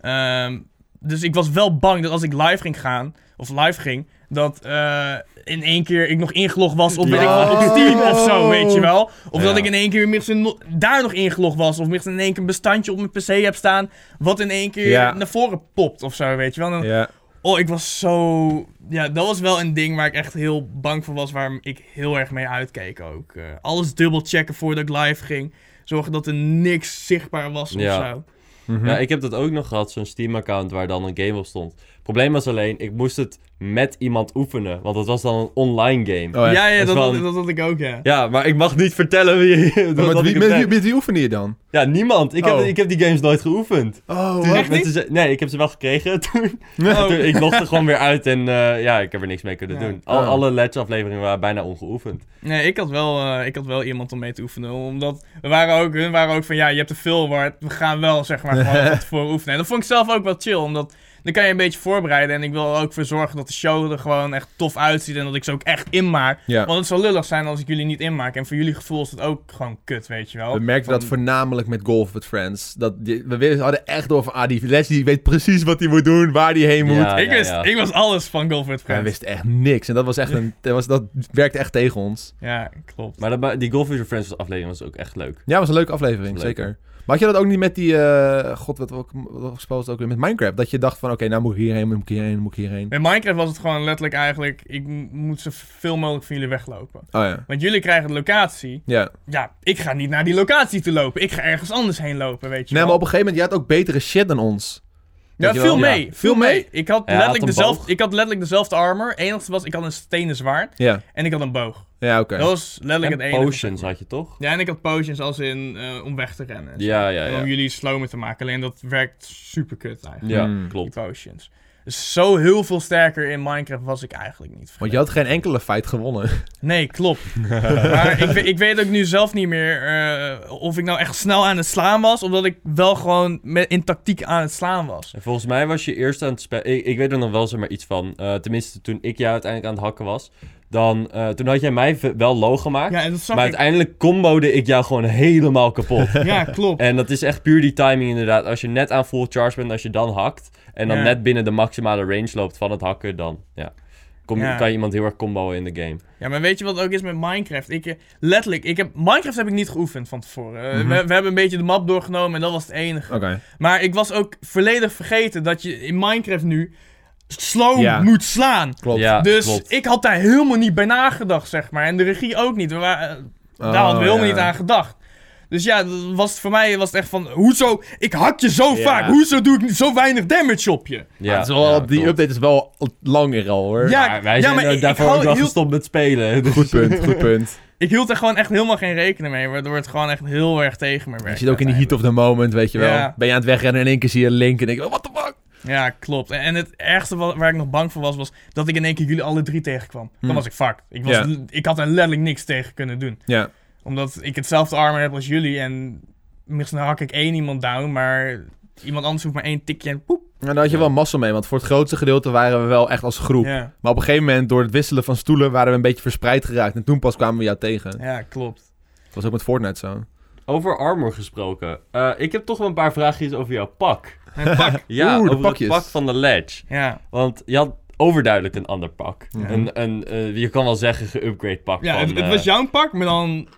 S3: Ehm, dus ik was wel bang dat als ik live ging gaan, of live ging, dat eh, in één keer ik nog ingelogd was op, weet ik wat, op
S1: Ja.
S3: Steam of zo, weet je wel. Of
S2: Ja.
S3: dat ik in één keer minstens no- daar nog ingelogd was, of minstens in één keer een bestandje op mijn PC heb staan, wat in één keer
S1: Ja.
S3: naar voren popt of zo, weet je wel. En dan-
S1: Ja.
S3: Oh, ik was zo... Ja, dat was wel een ding waar ik echt heel bang voor was, waar ik heel erg mee uitkeek ook. Eh, alles dubbel checken voordat ik live ging. Zorgen dat er niks zichtbaar was of
S2: Ja.
S3: zo.
S1: Mhm.
S2: Ja, ik heb dat ook nog gehad, zo'n Steam-account waar dan een game op stond. Probleem was alleen, ik moest het met iemand oefenen, want het was dan een online game.
S1: Oh, ja.
S3: ja, ja,
S2: Dat
S3: dat,
S2: is wel
S3: dat,
S2: een-
S3: dat had ik ook, ja.
S2: Ja, maar ik mag niet vertellen wie...
S1: Maar
S2: wat
S1: met,
S2: ik
S1: wie,
S2: heb
S1: met,
S2: gedaan.
S1: wie, met wie oefende je dan?
S2: Ja, niemand. Ik,
S1: Oh.
S2: heb, ik heb die games nooit geoefend.
S1: Oh,
S2: Toen
S3: Echt
S2: ik met
S3: niet?
S2: ze- nee, ik heb ze wel gekregen. Toen,
S3: Oh.
S2: toen- ik logde gewoon weer uit en eh, ja, ik heb er niks mee kunnen
S3: Ja.
S2: doen. Al,
S1: Oh.
S2: Alle Let's-afleveringen waren bijna ongeoefend.
S3: Nee, ik had, wel, eh, ik had wel iemand om mee te oefenen. Omdat we waren ook, hun waren ook van, ja, je hebt er veel waard. We gaan wel, zeg maar, gewoon van tevoren oefenen. En dat vond ik zelf ook wel chill, omdat... Dan kan je een beetje voorbereiden en ik wil er ook voor zorgen dat de show er gewoon echt tof uitziet en dat ik ze ook echt inmaak.
S1: Ja.
S3: Want het zou lullig zijn als ik jullie niet inmaak en voor jullie gevoel is dat ook gewoon kut, weet
S2: Oh,
S3: je wel.
S1: We merkten
S3: Van-
S1: dat voornamelijk met Golf with Friends. Dat die- we wisten- hadden echt door van, ah, die Les die weet precies wat hij moet doen, waar hij heen moet.
S2: Ja,
S3: ik,
S2: ja,
S3: wist,
S2: ja.
S3: ik was alles van Golf with
S1: Hij
S3: Friends.
S1: wist echt niks. En dat, was echt een, dat, was, dat werkte echt tegen ons.
S3: Ja, klopt.
S2: Maar dat, ma- die Golf is Your Friends aflevering was ook echt leuk.
S1: Ja, was een leuke aflevering,
S2: Leuk.
S1: zeker. Maar had je dat ook niet met die... eh, God, wat, wat, wat spel was het ook weer? Met Minecraft. Dat je dacht van, oké, nou moet ik hierheen, moet ik hierheen, moet ik hierheen.
S3: Bij Minecraft was het gewoon letterlijk eigenlijk, ik m- moet zoveel mogelijk van jullie weglopen.
S1: Oh ja.
S3: Want jullie krijgen de locatie.
S1: Ja.
S3: Ja, ik ga niet naar die locatie te lopen. Ik ga ergens anders heen lopen, weet je
S1: Nee,
S3: wel.
S1: maar op een gegeven moment, jij had ook betere shit dan ons.
S3: Ja,
S1: Weet je wel?
S3: viel mee.
S1: Ja.
S3: Viel mee. Ik had,
S2: hij had
S3: letterlijk
S2: een boog.
S3: dezelfde, ik had letterlijk dezelfde armor. Het enige was, ik had een stenen zwaard
S1: Ja,
S3: en ik had een boog.
S1: ja oké.
S2: Oh.
S3: Dat was letterlijk
S2: En
S3: het enige.
S2: potions had je toch?
S3: Ja, en ik had potions als in eh, om weg te rennen. en zo.
S2: Ja, ja,
S3: En om
S2: ja.
S3: jullie slomer te maken. Alleen dat werkt super kut eigenlijk.
S2: Ja,
S1: Mm.
S2: klopt.
S3: Die potions. Dus zo heel veel sterker in Minecraft was ik eigenlijk niet.
S1: Want je had geen enkele fight gewonnen.
S3: Nee, klopt. maar ik, we- ik weet ook nu zelf niet meer eh, of ik nou echt snel aan het slaan was. Omdat ik wel gewoon met, in tactiek aan het slaan was.
S2: En volgens mij was je eerst aan het spelen. Ik, ik weet er nog wel zeg maar iets van. Eh, tenminste, toen ik jou uiteindelijk aan het hakken was. Dan, eh, toen had jij mij v- wel low gemaakt.
S3: Ja, en dat zag
S2: maar
S3: ik.
S2: uiteindelijk combode ik jou gewoon helemaal kapot.
S3: Ja, klopt.
S2: en dat is echt puur die timing inderdaad. Als je net aan full charge bent, als je dan hakt. En dan
S3: Ja.
S2: net binnen de maximale range loopt van het hakken, dan ja. Kom,
S3: Ja.
S2: kan je iemand heel erg comboen in de game.
S3: Ja, maar weet je wat het ook is met Minecraft? Ik, eh, letterlijk, ik heb, Minecraft heb ik niet geoefend van tevoren. Eh,
S1: Mhm.
S3: we, we hebben een beetje de map doorgenomen en dat was het enige.
S1: Oké.
S3: Maar ik was ook volledig vergeten dat je in Minecraft nu slow
S1: Ja.
S3: moet slaan.
S1: Klopt.
S2: Ja,
S3: dus
S2: klopt.
S3: ik had daar helemaal niet bij nagedacht, zeg maar. En de regie ook niet. We waren,
S1: Oh,
S3: daar hadden we helemaal
S1: ja.
S3: niet aan gedacht. Dus ja, dat was het- voor mij was het echt van... Hoezo? Ik hak je zo
S1: Ja.
S3: vaak. Hoezo doe ik niet zo weinig damage op je?
S1: Ja,
S2: Ja,
S1: het is wel-
S2: ja,
S1: die
S2: klopt.
S1: update is wel langer al hoor.
S3: Ja,
S2: Maar wij
S3: ja,
S2: zijn
S3: maar
S2: eh,
S3: ik- ik
S2: daarvoor
S3: hou
S2: ook wel
S3: heel-
S2: gestopt met spelen. Dus.
S1: Goed punt, goed punt.
S3: Ik hield er gewoon echt helemaal geen rekening mee. Waardoor het gewoon echt heel erg tegen me werkte.
S1: Je zit ook in de heat of the moment, weet je wel.
S3: Ja.
S1: Ben je aan het wegrennen en in één keer zie je Link en denk je, oh, what the fuck?
S3: Ja, klopt. En- En het ergste wa- waar ik nog bang voor was, was dat ik in één keer jullie alle drie tegenkwam. Dan
S1: Hmm.
S3: was ik fucked. Ik, was,
S1: Ja.
S3: ik had er letterlijk niks tegen kunnen doen.
S1: Ja,
S3: Omdat ik hetzelfde armor heb als jullie en misschien hak ik één iemand down, maar iemand anders hoeft maar één tikje en poep.
S1: en Nou, daar had je
S2: Ja.
S1: wel massa mee, want voor het grootste gedeelte waren we wel echt als groep.
S3: Ja,
S1: Maar op een gegeven moment, door het wisselen van stoelen, waren we een beetje verspreid geraakt. En toen pas kwamen we jou tegen.
S3: ja klopt.
S1: Dat was ook met Fortnite zo.
S2: Over armor gesproken. Eh, ik heb toch wel een paar vraagjes over jouw pak.
S3: En pak.
S2: Ja,
S1: Oeh, de
S2: over
S1: pakjes.
S2: het pak van de ledge.
S3: Ja,
S2: Want je had overduidelijk een ander pak.
S1: Ja.
S2: Een, een, eh, je kan wel zeggen geüpgrade pak
S3: ja
S2: van...
S3: het, het
S2: eh,
S3: was jouw pak, maar dan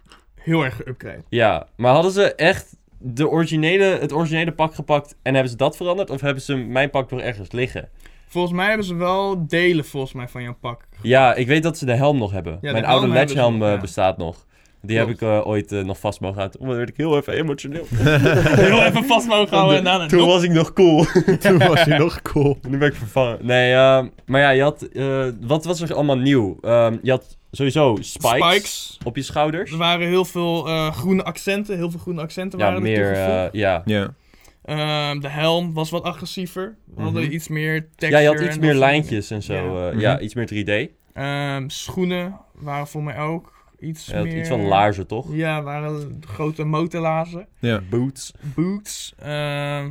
S3: heel erg geüpgrade.
S2: Ja, maar hadden ze echt de originele, het originele pak gepakt en hebben ze dat veranderd? Of hebben ze mijn pak nog ergens liggen?
S3: Volgens mij hebben ze wel delen volgens mij, van jouw pak.
S2: Ja, ik weet dat ze de helm nog hebben.
S3: de
S2: mijn
S3: helm
S2: oude
S3: hebben ze
S2: ledge helm
S3: nog, ja.
S2: bestaat nog. Die heb ik
S3: Klopt.
S2: eh, ooit eh, nog vast mogen houden. Oh, dan werd ik heel even emotioneel.
S3: heel even vast mogen houden en daarna...
S2: Toen was ik nog cool.
S1: toen was je nog cool.
S2: Nu ben ik vervangen. Nee, eh, maar ja, je had, eh, wat was er allemaal nieuw? Ehm, je had sowieso spikes,
S3: Spikes.
S2: op je schouders.
S3: Er waren heel veel eh, groene accenten, heel veel groene accenten
S2: Ja,
S3: waren er
S2: meer.
S3: toegevoegd.
S2: eh, ja.
S1: Ja.
S3: Ehm, de helm was wat agressiever. We hadden
S2: Mhm.
S3: iets meer texture.
S2: ja, je had
S3: en
S2: iets
S3: dat
S2: meer
S3: soort
S2: lijntjes en zo. eh,
S3: Ja.
S1: Mhm.
S2: Ja, iets meer 3D.
S3: dingen. Ehm, schoenen waren voor mij ook iets
S2: Je had
S3: meer... eh,
S2: iets van laarzen, toch?
S3: Ja, waren grote motorlazen.
S1: ja.
S2: Boots.
S3: Boots. ehm,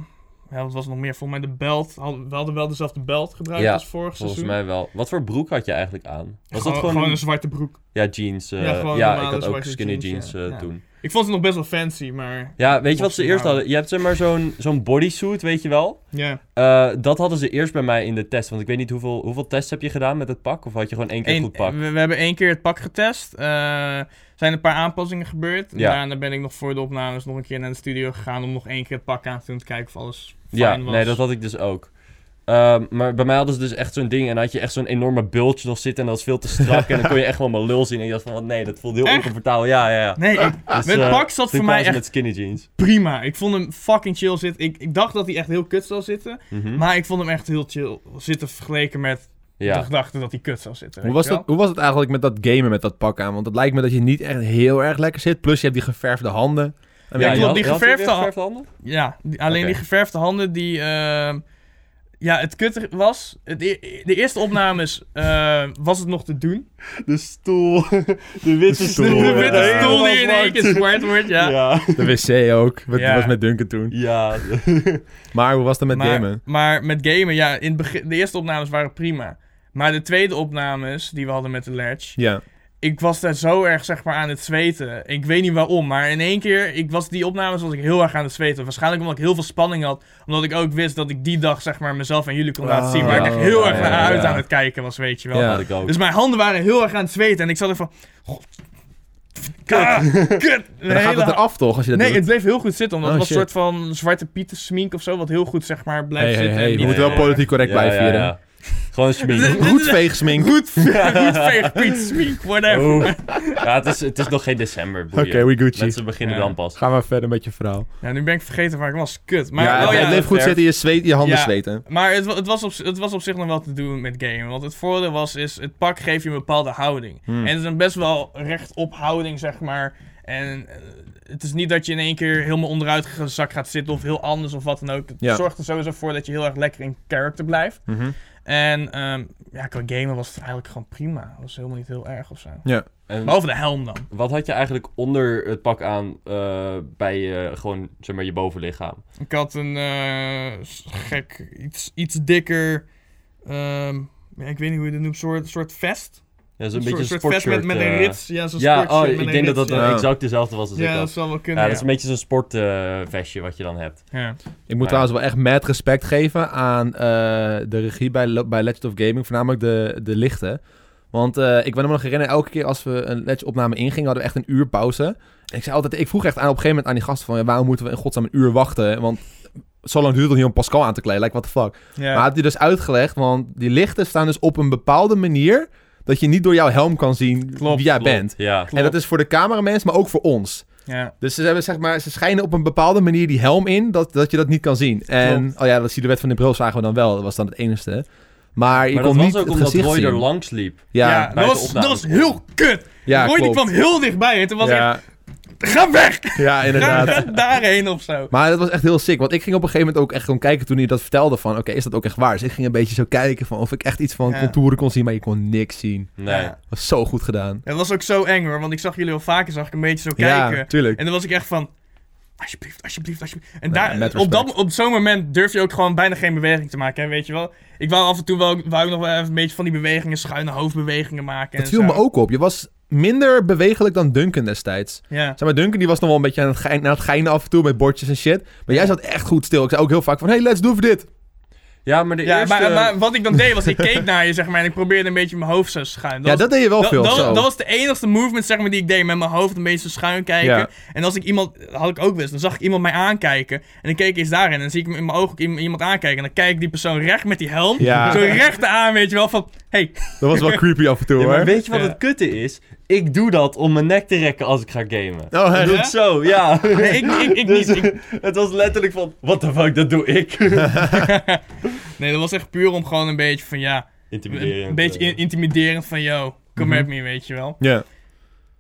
S3: ja, wat was er nog meer? Volgens mij de belt. Hadden- We hadden wel dezelfde belt gebruikt
S2: Ja,
S3: als vorig
S2: Volgens
S3: seizoen.
S2: mij wel. Wat voor broek had je eigenlijk aan? Was
S3: gewoon,
S2: dat gewoon...
S3: een zwarte broek.
S2: Ja, jeans. eh,
S3: Ja,
S2: ja,
S3: gewoon
S2: ik
S3: normale
S2: had ook
S3: zwarte
S2: skinny jeans,
S3: jeans, ja.
S2: eh,
S3: Ja.
S2: toen.
S3: Ik vond het nog best wel fancy, maar...
S2: Ja, weet je wat
S3: Mocht
S2: ze
S3: je
S2: eerst
S3: nou-
S2: hadden? Je hebt zeg maar zo'n zo'n bodysuit, weet je wel?
S3: Ja,
S2: Eh, dat hadden ze eerst bij mij in de test. Want ik weet niet hoeveel, hoeveel tests heb je gedaan met het pak? Of had je gewoon één keer
S3: Eén-
S2: goed pak?
S3: we, we hebben één keer het pak getest. Eh zijn een paar aanpassingen gebeurd.
S2: Ja.
S3: Daarna ben ik nog voor de opnames nog een keer naar de studio gegaan... om nog één keer het pak aan te doen, te kijken of alles fijn
S2: Ja,
S3: was.
S2: nee, dat had ik dus ook. Ehm, maar bij mij hadden ze dus echt zo'n ding en dan had je echt zo'n enorme bultje nog zitten en dat was veel te strak en dan kon je echt wel mijn lul zien en je dacht van oh, nee, dat voelt heel
S3: Echt?
S2: oncomfortabel. Ja, ja, ja.
S3: Nee, ik,
S2: Dus,
S3: met
S2: eh,
S3: pak zat
S2: toen
S3: voor mij
S2: kwamen ze
S3: echt
S2: met skinny jeans.
S3: prima. Ik vond hem fucking chill zitten. Ik, ik dacht dat hij echt heel kut zou zitten.
S2: Mhm.
S3: Maar ik vond hem echt heel chill zitten vergeleken met de
S2: ja.
S3: gedachte dat hij kut zou zitten.
S1: Hoe
S3: weet
S1: was,
S3: je
S1: dat,
S3: wel?
S1: hoe was het eigenlijk met dat gamen met dat pak aan? Want het lijkt me dat je niet echt heel erg lekker zit. Plus je hebt die geverfde handen. En
S2: Ja,
S1: weet
S2: je
S1: je-
S3: klopt, die
S2: had- je had
S3: geverfde
S2: weer
S3: hand-
S2: geverfde handen?
S3: Ja, die- alleen
S2: Oké.
S3: die geverfde handen die... ehm, ja, het kutter was... Het, e- de eerste opnames eh, was het nog te doen.
S2: De stoel. De witte
S1: stoel,
S2: stoel.
S3: de
S1: ja.
S3: witte
S1: Ja.
S3: stoel die in één keer zwart wordt, ja.
S2: Ja.
S1: de wc ook. Dat
S3: Ja.
S1: was met Duncan toen.
S2: Ja.
S1: Maar hoe was dat met
S3: maar,
S1: gamen?
S3: Maar met gamen, ja, in het begin, de eerste opnames waren prima. Maar de tweede opnames die we hadden met de Ledge...
S1: Ja.
S3: ik was daar zo erg zeg maar aan het zweten. Ik weet niet waarom, maar in één keer, ik was die opnames was ik heel erg aan het zweten. Waarschijnlijk omdat ik heel veel spanning had, omdat ik ook wist dat ik die dag zeg maar mezelf aan jullie kon
S1: Ah,
S3: laten zien, waar ik echt heel
S2: Oh,
S3: erg naar
S2: ja,
S3: uit
S2: ja.
S3: aan het kijken was, weet je wel.
S1: Ja.
S2: Had ik ook.
S3: Dus mijn handen waren heel erg aan het zweten en ik zat er van, god, ah, kut.
S1: En dan gaat het eraf toch? Als je dat
S3: Nee,
S1: doet?
S3: het bleef heel goed zitten, omdat
S1: Oh,
S3: het was een
S1: shit.
S3: soort van zwarte pieten smink of zo, wat heel goed zeg maar blijft
S1: hey, hey,
S3: zitten.
S1: hey,
S3: en
S1: we
S3: niet-
S1: moeten wel politiek correct
S2: Ja,
S1: blijven
S2: ja,
S1: hier. hè?
S2: ja. Gewoon schmink.
S1: Goed veegsmink.
S3: Goed, goed veeg, Piet, smink, whatever.
S1: Oh.
S2: Oeh. Ja, het is, het is nog geen december.
S1: Oké,
S2: boeien.
S1: we Gucci.
S2: Mensen beginnen
S3: Ja.
S2: dan pas.
S1: Gaan we verder met je verhaal.
S3: Ja, nu ben ik vergeten waar ik was, kut. Maar,
S1: ja,
S3: oh,
S1: het
S3: ja,
S1: bleef goed
S2: verf.
S1: zitten. Je, zweet, je handen
S3: Ja.
S1: zweten.
S3: Maar het, wa- het, was op, z- het was op zich nog wel te doen met gamen. Want het voordeel was, is het pak geeft je een bepaalde houding.
S1: Hmm.
S3: En het is een best wel rechtop houding, zeg maar. En eh, het is niet dat je in één keer helemaal onderuit gezakt gaat zitten of heel anders of wat dan ook. Het
S1: Ja.
S3: zorgt er sowieso voor dat je heel erg lekker in character blijft.
S1: Mhm.
S3: En ehm, ja, qua gamen was het eigenlijk gewoon prima. Het was helemaal niet heel erg of zo.
S1: Ja.
S2: En
S3: Behalve de helm dan.
S2: wat had je eigenlijk onder het pak aan eh, bij eh, gewoon, zeg maar, je bovenlichaam?
S3: Ik had een eh, s- gek, iets, iets dikker, ehm, ja, ik weet niet hoe je dat noemt, soort, soort vest.
S2: Ja, zo'n
S3: Een
S2: beetje
S3: soort,
S2: een
S3: soort
S2: sportshirt.
S3: vest met, met een
S2: eh.
S3: rits. Ja, zo'n
S2: Ja,
S3: sportshirt
S2: oh,
S3: met
S2: ik
S3: een
S2: denk dat dat
S3: rits,
S1: eh,
S3: ja.
S2: dan exact dezelfde was als
S3: ja,
S2: ik
S3: dat
S2: had.
S3: zal wel kunnen.
S2: Ja,
S3: Ja,
S2: dat is een beetje zo'n sportvestje wat je dan hebt.
S3: Ja.
S1: Ik moet
S2: Maar ja.
S1: trouwens wel echt mad respect geven aan eh, de regie bij, Lo- bij Legend of Gaming, voornamelijk de, de lichten. Want eh, ik ben me nog herinneren, elke keer als we een Legend opname ingingen, hadden we echt een uur pauze. En ik zei altijd, ik vroeg echt aan op een gegeven moment aan die gasten van, ja, waarom moeten we in godsnaam een uur wachten? Want zo lang duurt het niet om Pascal aan te kleden, like what the fuck.
S3: Ja.
S1: Maar had hij dus uitgelegd, want die lichten staan dus op een bepaalde manier dat je niet door jouw helm kan zien
S3: Klopt,
S1: wie jij
S2: Klopt,
S1: bent.
S2: Ja.
S3: Klopt.
S1: En dat is voor de cameramens, maar ook voor ons.
S3: ja.
S1: Dus ze, hebben, zeg maar, ze schijnen op een bepaalde manier die helm in, dat, dat je dat niet kan zien. En,
S3: Klopt.
S1: oh ja, dat silhouet van de bril zagen we dan wel, dat was dan het enigste. Maar je
S2: Maar
S1: kon
S2: dat
S1: niet
S2: was ook
S1: het
S2: omdat
S1: gezicht
S2: Roy
S1: zien.
S2: er langs liep.
S1: Ja,
S3: Ja,
S2: bij
S3: dat,
S2: de
S3: was,
S2: opname.
S3: dat was heel kut.
S1: ja,
S3: Roy die
S1: klopt.
S3: kwam heel dichtbij en toen was echt,
S1: ja,
S3: ga weg!
S1: ja,
S3: Ga
S1: inderdaad.
S3: daarheen of zo.
S1: Maar dat was echt heel sick, want ik ging op een gegeven moment ook echt gewoon kijken toen hij dat vertelde van, oké, is dat ook echt waar? Dus ik ging een beetje zo kijken van of ik echt iets van
S3: Ja.
S1: contouren kon zien, maar je kon niks zien.
S2: Nee.
S3: Ja.
S1: Dat was zo goed gedaan.
S3: Het was ook zo eng hoor, want ik zag jullie al vaker, zag ik een beetje zo
S1: Ja,
S3: kijken.
S1: tuurlijk.
S3: En dan was ik echt van. Alsjeblieft, alsjeblieft, alsjeblieft. En
S1: Nee,
S3: daar,
S1: met
S3: op, dat,
S1: respect.
S3: op zo'n moment durf je ook gewoon bijna geen beweging te maken, hè, weet je wel. Ik wou af en toe wel, wou ik nog wel even een beetje van die bewegingen, schuine hoofdbewegingen maken.
S1: Dat
S3: en
S1: viel
S3: zo.
S1: me ook op. Je was minder bewegelijk dan Duncan destijds.
S3: Ja.
S1: Zeg maar, Duncan die was nog wel een beetje aan het, gein, aan het geinen af en toe met bordjes en shit. Maar jij zat echt goed stil. Ik zei ook heel vaak van, hey, let's do voor dit.
S2: Ja, maar de
S3: Ja,
S2: eerste...
S3: maar, maar wat ik dan deed was, ik keek naar je, zeg maar, en ik probeerde een beetje mijn hoofd zo schuin.
S1: ja,
S3: was-
S1: dat deed je wel
S3: dat,
S1: veel.
S3: dat,
S1: zo.
S3: dat was de enige movement, zeg maar, die ik deed, met mijn hoofd een beetje zo schuin kijken.
S1: Ja.
S3: En als ik iemand, dat had ik ook wist, dan zag ik iemand mij aankijken. En dan keek ik eens daarin, en dan zie ik hem in mijn ogen ook iem- iemand aankijken. En dan kijk ik die persoon recht met die helm,
S1: Ja.
S3: zo recht aan, weet je wel, van, hey,
S1: Dat was wel creepy af en toe,
S2: Ja,
S1: hoor.
S2: maar weet je wat
S3: Ja.
S2: het kutte is? Ik doe dat om mijn nek te rekken als ik ga gamen.
S1: Oh,
S2: Dat
S1: echt?
S2: doe ik zo, ja.
S3: Nee, ik, ik, ik
S2: Dus,
S3: niet. Ik-
S2: het was letterlijk van, what the fuck, dat doe ik.
S3: nee, dat was echt puur om gewoon een beetje van ja. Een,
S2: Intimiderend. eh.
S3: een beetje in- intimiderend van yo, come
S1: Mhm.
S3: at me, weet je wel.
S1: Ja.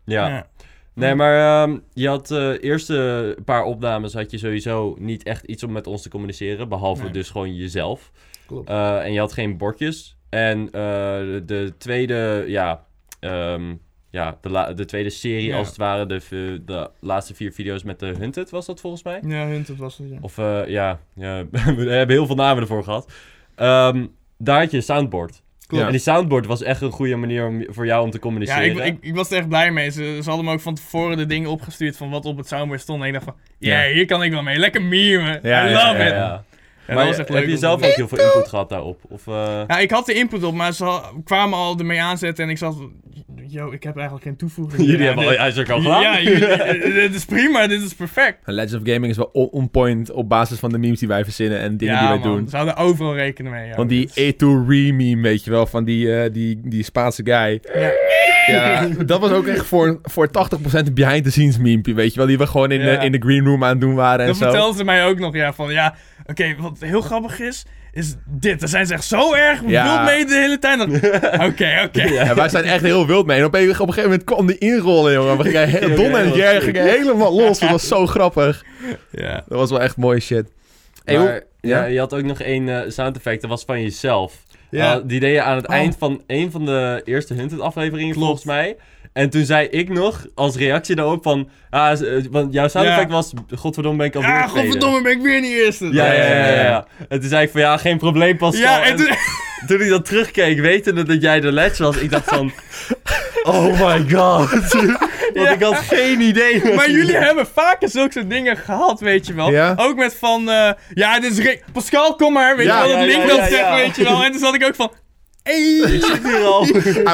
S2: Ja. Nee,
S3: Hmm.
S2: maar ehm, je had eh eerste paar opnames had je sowieso niet echt iets om met ons te communiceren, behalve
S3: Nee.
S2: dus gewoon jezelf.
S1: Klopt.
S2: Eh, en je had geen bordjes. En eh, de, de tweede, ja, ehm, ja de, la- de tweede serie
S3: Ja.
S2: als het ware, de, v- de laatste vier video's met de Hunted was dat volgens mij.
S3: Ja, Hunt, dat was het. Ja.
S2: Of eh, ja, ja, we hebben heel veel namen ervoor gehad. Ehm, daar had je een soundboard.
S1: Klopt.
S2: En die soundboard was echt een goede manier om, voor jou om te
S3: Ja,
S2: communiceren.
S3: ik, ik, ik was er echt blij mee. Ze, ze hadden me ook van tevoren de dingen opgestuurd van wat op het soundboard stond. En ik dacht van, ja,
S1: Ja.
S3: hier kan ik wel mee. Lekker memen.
S1: Ja,
S3: I
S1: ja,
S3: love
S1: ja,
S3: it.
S1: ja.
S3: Ja,
S2: maar
S3: dat was echt leuk.
S2: heb je
S3: om
S2: zelf
S3: te doen.
S2: ook heel veel input gehad daarop? Of, eh,
S3: Ja, ik had de input op, maar ze al- kwamen al ermee aanzetten en ik zat... Yo, ik heb eigenlijk geen toevoeging.
S2: jullie
S3: Ja,
S2: hebben al
S3: dit-
S2: je ijzer al gedaan?
S3: Ja, jullie- dit is prima. Dit is perfect.
S1: Legend of Gaming is wel on, on point op basis van de memes die wij verzinnen en dingen die wij
S3: man,
S1: doen.
S3: Ze hadden overal rekening mee. ja.
S1: Want die A2 meme, weet je wel, van die, eh, die, die Spaanse guy.
S3: Ja.
S1: Ja, dat was ook echt voor, voor 80% behind the scenes meme, weet je wel. Die we gewoon in,
S3: Ja.
S1: de, in de green room aan het doen waren en
S3: Dat
S1: zo.
S3: vertelden ze mij ook nog, ja, van ja, oké, wat heel grappig is, is dit. Daar zijn ze echt zo erg
S1: Ja.
S3: wild mee de hele tijd. Dan- Oké, oké.
S1: Ja, wij zijn echt heel wild mee. En op een, op een gegeven moment kwam die inrollen, jongen. We gingen he-
S2: Ja,
S1: Don en
S2: dat was
S1: Jerry
S2: sick.
S1: gingen helemaal los. Dat was zo grappig.
S3: Ja.
S1: Dat was wel echt mooie shit. Hey,
S2: Maar,
S1: hoe-
S2: ja,
S1: ja?
S2: je had ook nog één eh, sound effect, dat was van jezelf.
S3: Ja.
S2: Eh, die deed je aan het
S3: Oh.
S2: eind van een van de eerste Hunted afleveringen, volgens mij. En toen zei ik nog, als reactie daarop, van... Ah, z- eh, want jouw sound
S3: Ja.
S2: effect was, godverdomme ben ik alweer
S3: Ah,
S2: de tweede."
S3: godverdomme, ben ik weer niet eerste.
S2: Ja, ja, ja, ja,
S1: Ja,
S2: ja. En toen zei ik van, ja, geen probleem, Pascal.
S3: Ja, en toen,
S2: Toen ik dat terugkeek, wetende dat jij de ledge was, ik dacht van... Oh my god. Want
S3: Ja.
S2: ik had geen idee. wat
S3: maar
S2: hier-
S3: jullie hebben vaker zulke soort dingen gehad, weet je wel.
S1: Ja.
S3: Ook met van, eh, ja, dit is Rick. Pascal, kom maar, weet
S1: Ja,
S3: je wel, dat
S2: ja,
S3: Link
S2: ja,
S3: dat
S2: ja,
S3: zegt,
S2: ja.
S3: weet je wel. En toen zat ik ook van,
S2: Ik zit hier al.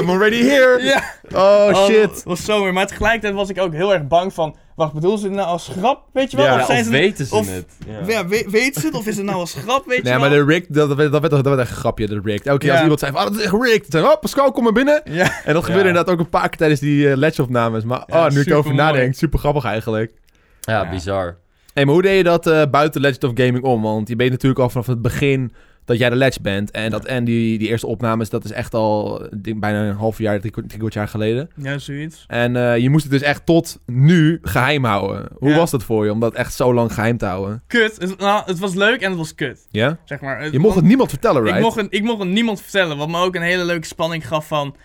S1: I'm already here.
S3: ja.
S1: Oh, shit.
S3: dat was zo weer. Maar tegelijkertijd was ik ook heel erg bang van, wacht, bedoelen ze dit nou als grap, weet je wel?
S1: Ja,
S3: of
S2: Ja,
S3: zijn
S2: of
S3: ze
S2: weten ze
S3: of-
S2: het? Ja.
S3: Ja, we- weet ze het? Of is het nou als grap, weet
S1: Nee,
S3: je
S1: maar
S3: wel?
S1: de Rick, dat, dat, werd- dat, werd, dat werd echt een grapje, de Rick. Elke keer
S3: Ja.
S1: als iemand zei van, oh, dat is echt Rick. Dan zei ik, oh, Pascal, kom maar binnen.
S3: Ja.
S1: En dat gebeurde
S2: Ja.
S1: inderdaad ook een paar keer tijdens die eh ledge-opnames. Maar
S3: Ja,
S1: oh, nu ik erover
S3: supermooi.
S1: nadenk, super grappig eigenlijk.
S2: Ja,
S3: Ja.
S2: bizar.
S1: Hé, maar hoe deed je dat eh, buiten Legend of Gaming om? Want je bent natuurlijk al vanaf het begin dat jij de ledge bent. En, dat, en die, die eerste opnames, dat is echt al ik denk, bijna een half jaar, drie kwart drie kwart jaar geleden.
S3: Ja, zoiets.
S1: En eh, je moest het dus echt tot nu geheim houden. Hoe
S3: Ja.
S1: was dat voor je om dat echt zo lang geheim te houden?
S3: Kut. Het, nou, het was leuk en het was kut.
S1: Ja?
S3: Zeg maar.
S1: Je mocht het niemand vertellen, right?
S3: Ik mocht, het, ik mocht het niemand vertellen, wat me ook een hele leuke spanning gaf van...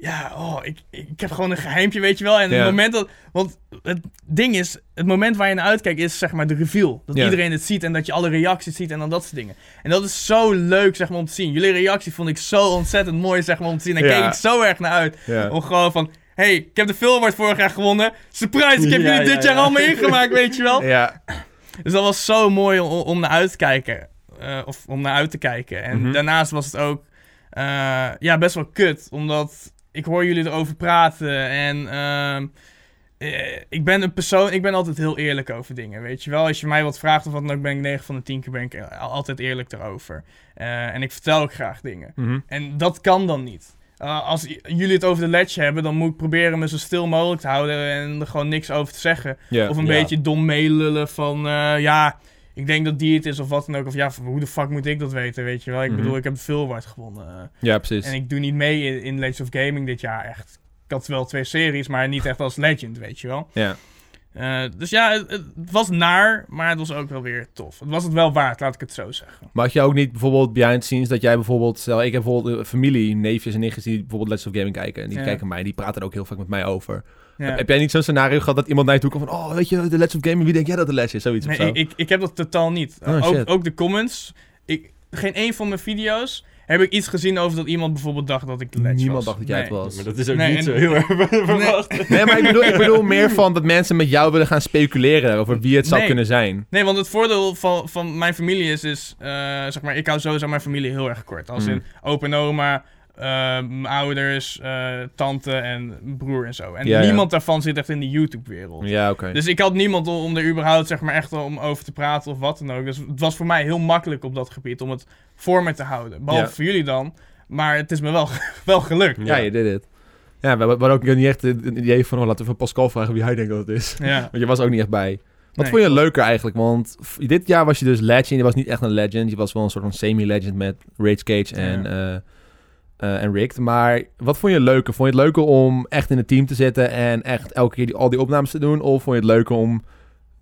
S3: Ja, oh, ik, ik heb gewoon een geheimpje, weet je wel. En
S1: Ja.
S3: het moment dat... Want het ding is, het moment waar je naar uitkijkt is zeg maar de reveal. Dat
S1: Ja.
S3: iedereen het ziet en dat je alle reacties ziet en dan dat soort dingen. En dat is zo leuk, zeg maar, om te zien. Jullie reactie vond ik zo ontzettend mooi, zeg maar, om te zien. Daar
S1: Ja.
S3: keek ik zo erg naar uit.
S1: Ja.
S3: Om gewoon van... hey, ik heb de Filmaward vorig jaar gewonnen. Surprise, ik heb
S2: Ja,
S3: jullie
S2: ja,
S3: dit
S2: ja.
S3: jaar allemaal ingemaakt, weet je wel.
S1: Ja.
S3: Dus dat was zo mooi om, om naar uit te kijken. Eh, of om naar uit te kijken. En
S1: Mhm.
S3: daarnaast was het ook eh, ja, best wel kut. Omdat ik hoor jullie erover praten. En ehm, eh, ik ben een persoon, ik ben altijd heel eerlijk over dingen. Weet je wel, als je mij wat vraagt of wat dan ook, ben ik 9 van de 10 keer ben ik eh, al- altijd eerlijk erover. Eh, en ik vertel ook graag dingen.
S1: Mhm.
S3: En dat kan dan niet. Eh, als j- jullie het over de ledge hebben, dan moet ik proberen me zo stil mogelijk te houden en er gewoon niks over te zeggen.
S1: Ja.
S3: Of een
S2: Ja.
S3: beetje dom meelullen van, eh, ja, ik denk dat die het is of wat dan ook. Of ja, van, hoe de fuck moet ik dat weten, weet je wel? Ik
S1: Mhm. Dus-
S3: bedoel, ik heb veel waard gewonnen.
S1: ja, precies.
S3: En ik doe niet mee in, in Legends of Gaming dit jaar echt. Ik had wel twee series, maar niet echt als legend, weet je wel.
S1: Ja.
S3: Eh, dus ja, het, het was naar, maar het was ook wel weer tof. Het was het wel waard, laat ik het zo zeggen.
S1: Maar had je ook niet bijvoorbeeld behind the scenes dat jij bijvoorbeeld... Stel, ik heb bijvoorbeeld eh, familie, neefjes en nichtjes die bijvoorbeeld Let's of Gaming kijken. En die
S3: Ja.
S1: kijken mij en die praten er ook heel vaak met mij over.
S3: Ja.
S1: Heb jij niet zo'n scenario gehad dat iemand naar je toe komt van... Oh, weet je, de Let's of Gaming, wie denk jij dat de les is? Zoiets
S3: Nee,
S1: of zo.
S3: ik, ik, ik heb dat totaal niet. Eh,
S1: Oh, shit.
S3: ook, ook de comments. Ik, geen één van mijn video's heb ik iets gezien over dat iemand bijvoorbeeld dacht dat ik de ledge
S1: Niemand
S3: was.
S1: dacht dat jij
S3: Nee.
S1: het was.
S2: Maar dat is ook
S3: Nee,
S2: niet
S3: en-
S2: zo heel erg verwacht.
S1: Nee, maar ik bedoel, ik bedoel meer van dat mensen met jou willen gaan speculeren over wie het zou
S3: Nee.
S1: kunnen zijn.
S3: Nee, want het voordeel van, van mijn familie is, is eh, zeg maar, ik hou sowieso mijn familie heel erg kort. Als
S1: Mm.
S3: in opa en oma, eh, mijn ouders, eh, tante en broer en zo. En
S1: Ja, ja.
S3: niemand daarvan zit echt in de YouTube-wereld.
S1: Ja, oké.
S3: Dus ik had niemand om, om er überhaupt zeg maar, echt om over te praten of wat dan ook. Dus het was voor mij heel makkelijk op dat gebied om het voor me te houden. Behalve
S1: Ja.
S3: voor jullie dan. Maar het is me wel, wel gelukt.
S1: Ja, je deed het. Ja, we hebben ook niet echt een idee van... Oh, laten we van Pascal vragen wie hij denkt dat het is.
S3: Ja.
S1: Want je was ook niet echt bij. Wat
S3: Nee,
S1: vond je leuker eigenlijk? Want f- dit jaar was je dus legend. Je was niet echt een legend. Je was wel een soort van semi-legend met Rage Cage en,
S3: Ja.
S1: eh eh, en Ricked. Maar wat vond je leuker? Vond je het leuker om echt in het team te zitten en echt elke keer die, al die opnames te doen? Of vond je het leuker om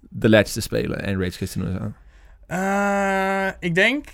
S1: de ledge te spelen en Rage Cage te doen? en zo?
S3: Eh, ik denk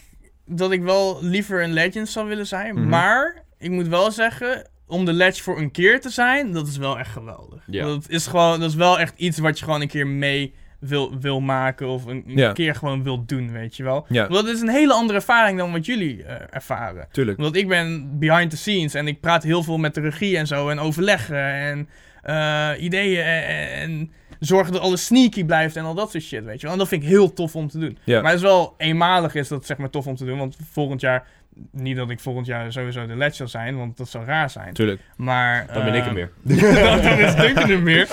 S3: dat ik wel liever een legend zou willen zijn.
S1: Mhm.
S3: Maar ik moet wel zeggen, om de ledge voor een keer te zijn, dat is wel echt geweldig.
S2: Ja.
S3: Dat, is gewoon, dat is wel echt iets wat je gewoon een keer mee wil, wil maken. Of een, een
S1: Ja.
S3: keer gewoon wil doen, weet je wel.
S1: Ja,
S3: Want het is een hele andere ervaring dan wat jullie eh, ervaren.
S1: tuurlijk.
S3: Omdat ik ben behind the scenes en ik praat heel veel met de regie en zo. En overleggen en eh, ideeën en, en zorgen dat alles sneaky blijft en al dat soort shit, weet je wel. En dat vind ik heel tof om te doen.
S1: Ja.
S3: Maar het is wel eenmalig is dat zeg maar tof om te doen. Want volgend jaar, niet dat ik volgend jaar sowieso de ledge zal zijn, want dat zou raar zijn.
S1: Tuurlijk.
S3: Maar,
S2: Dan ben ik
S3: eh,
S2: er meer.
S3: dan, dan is Duncan er meer.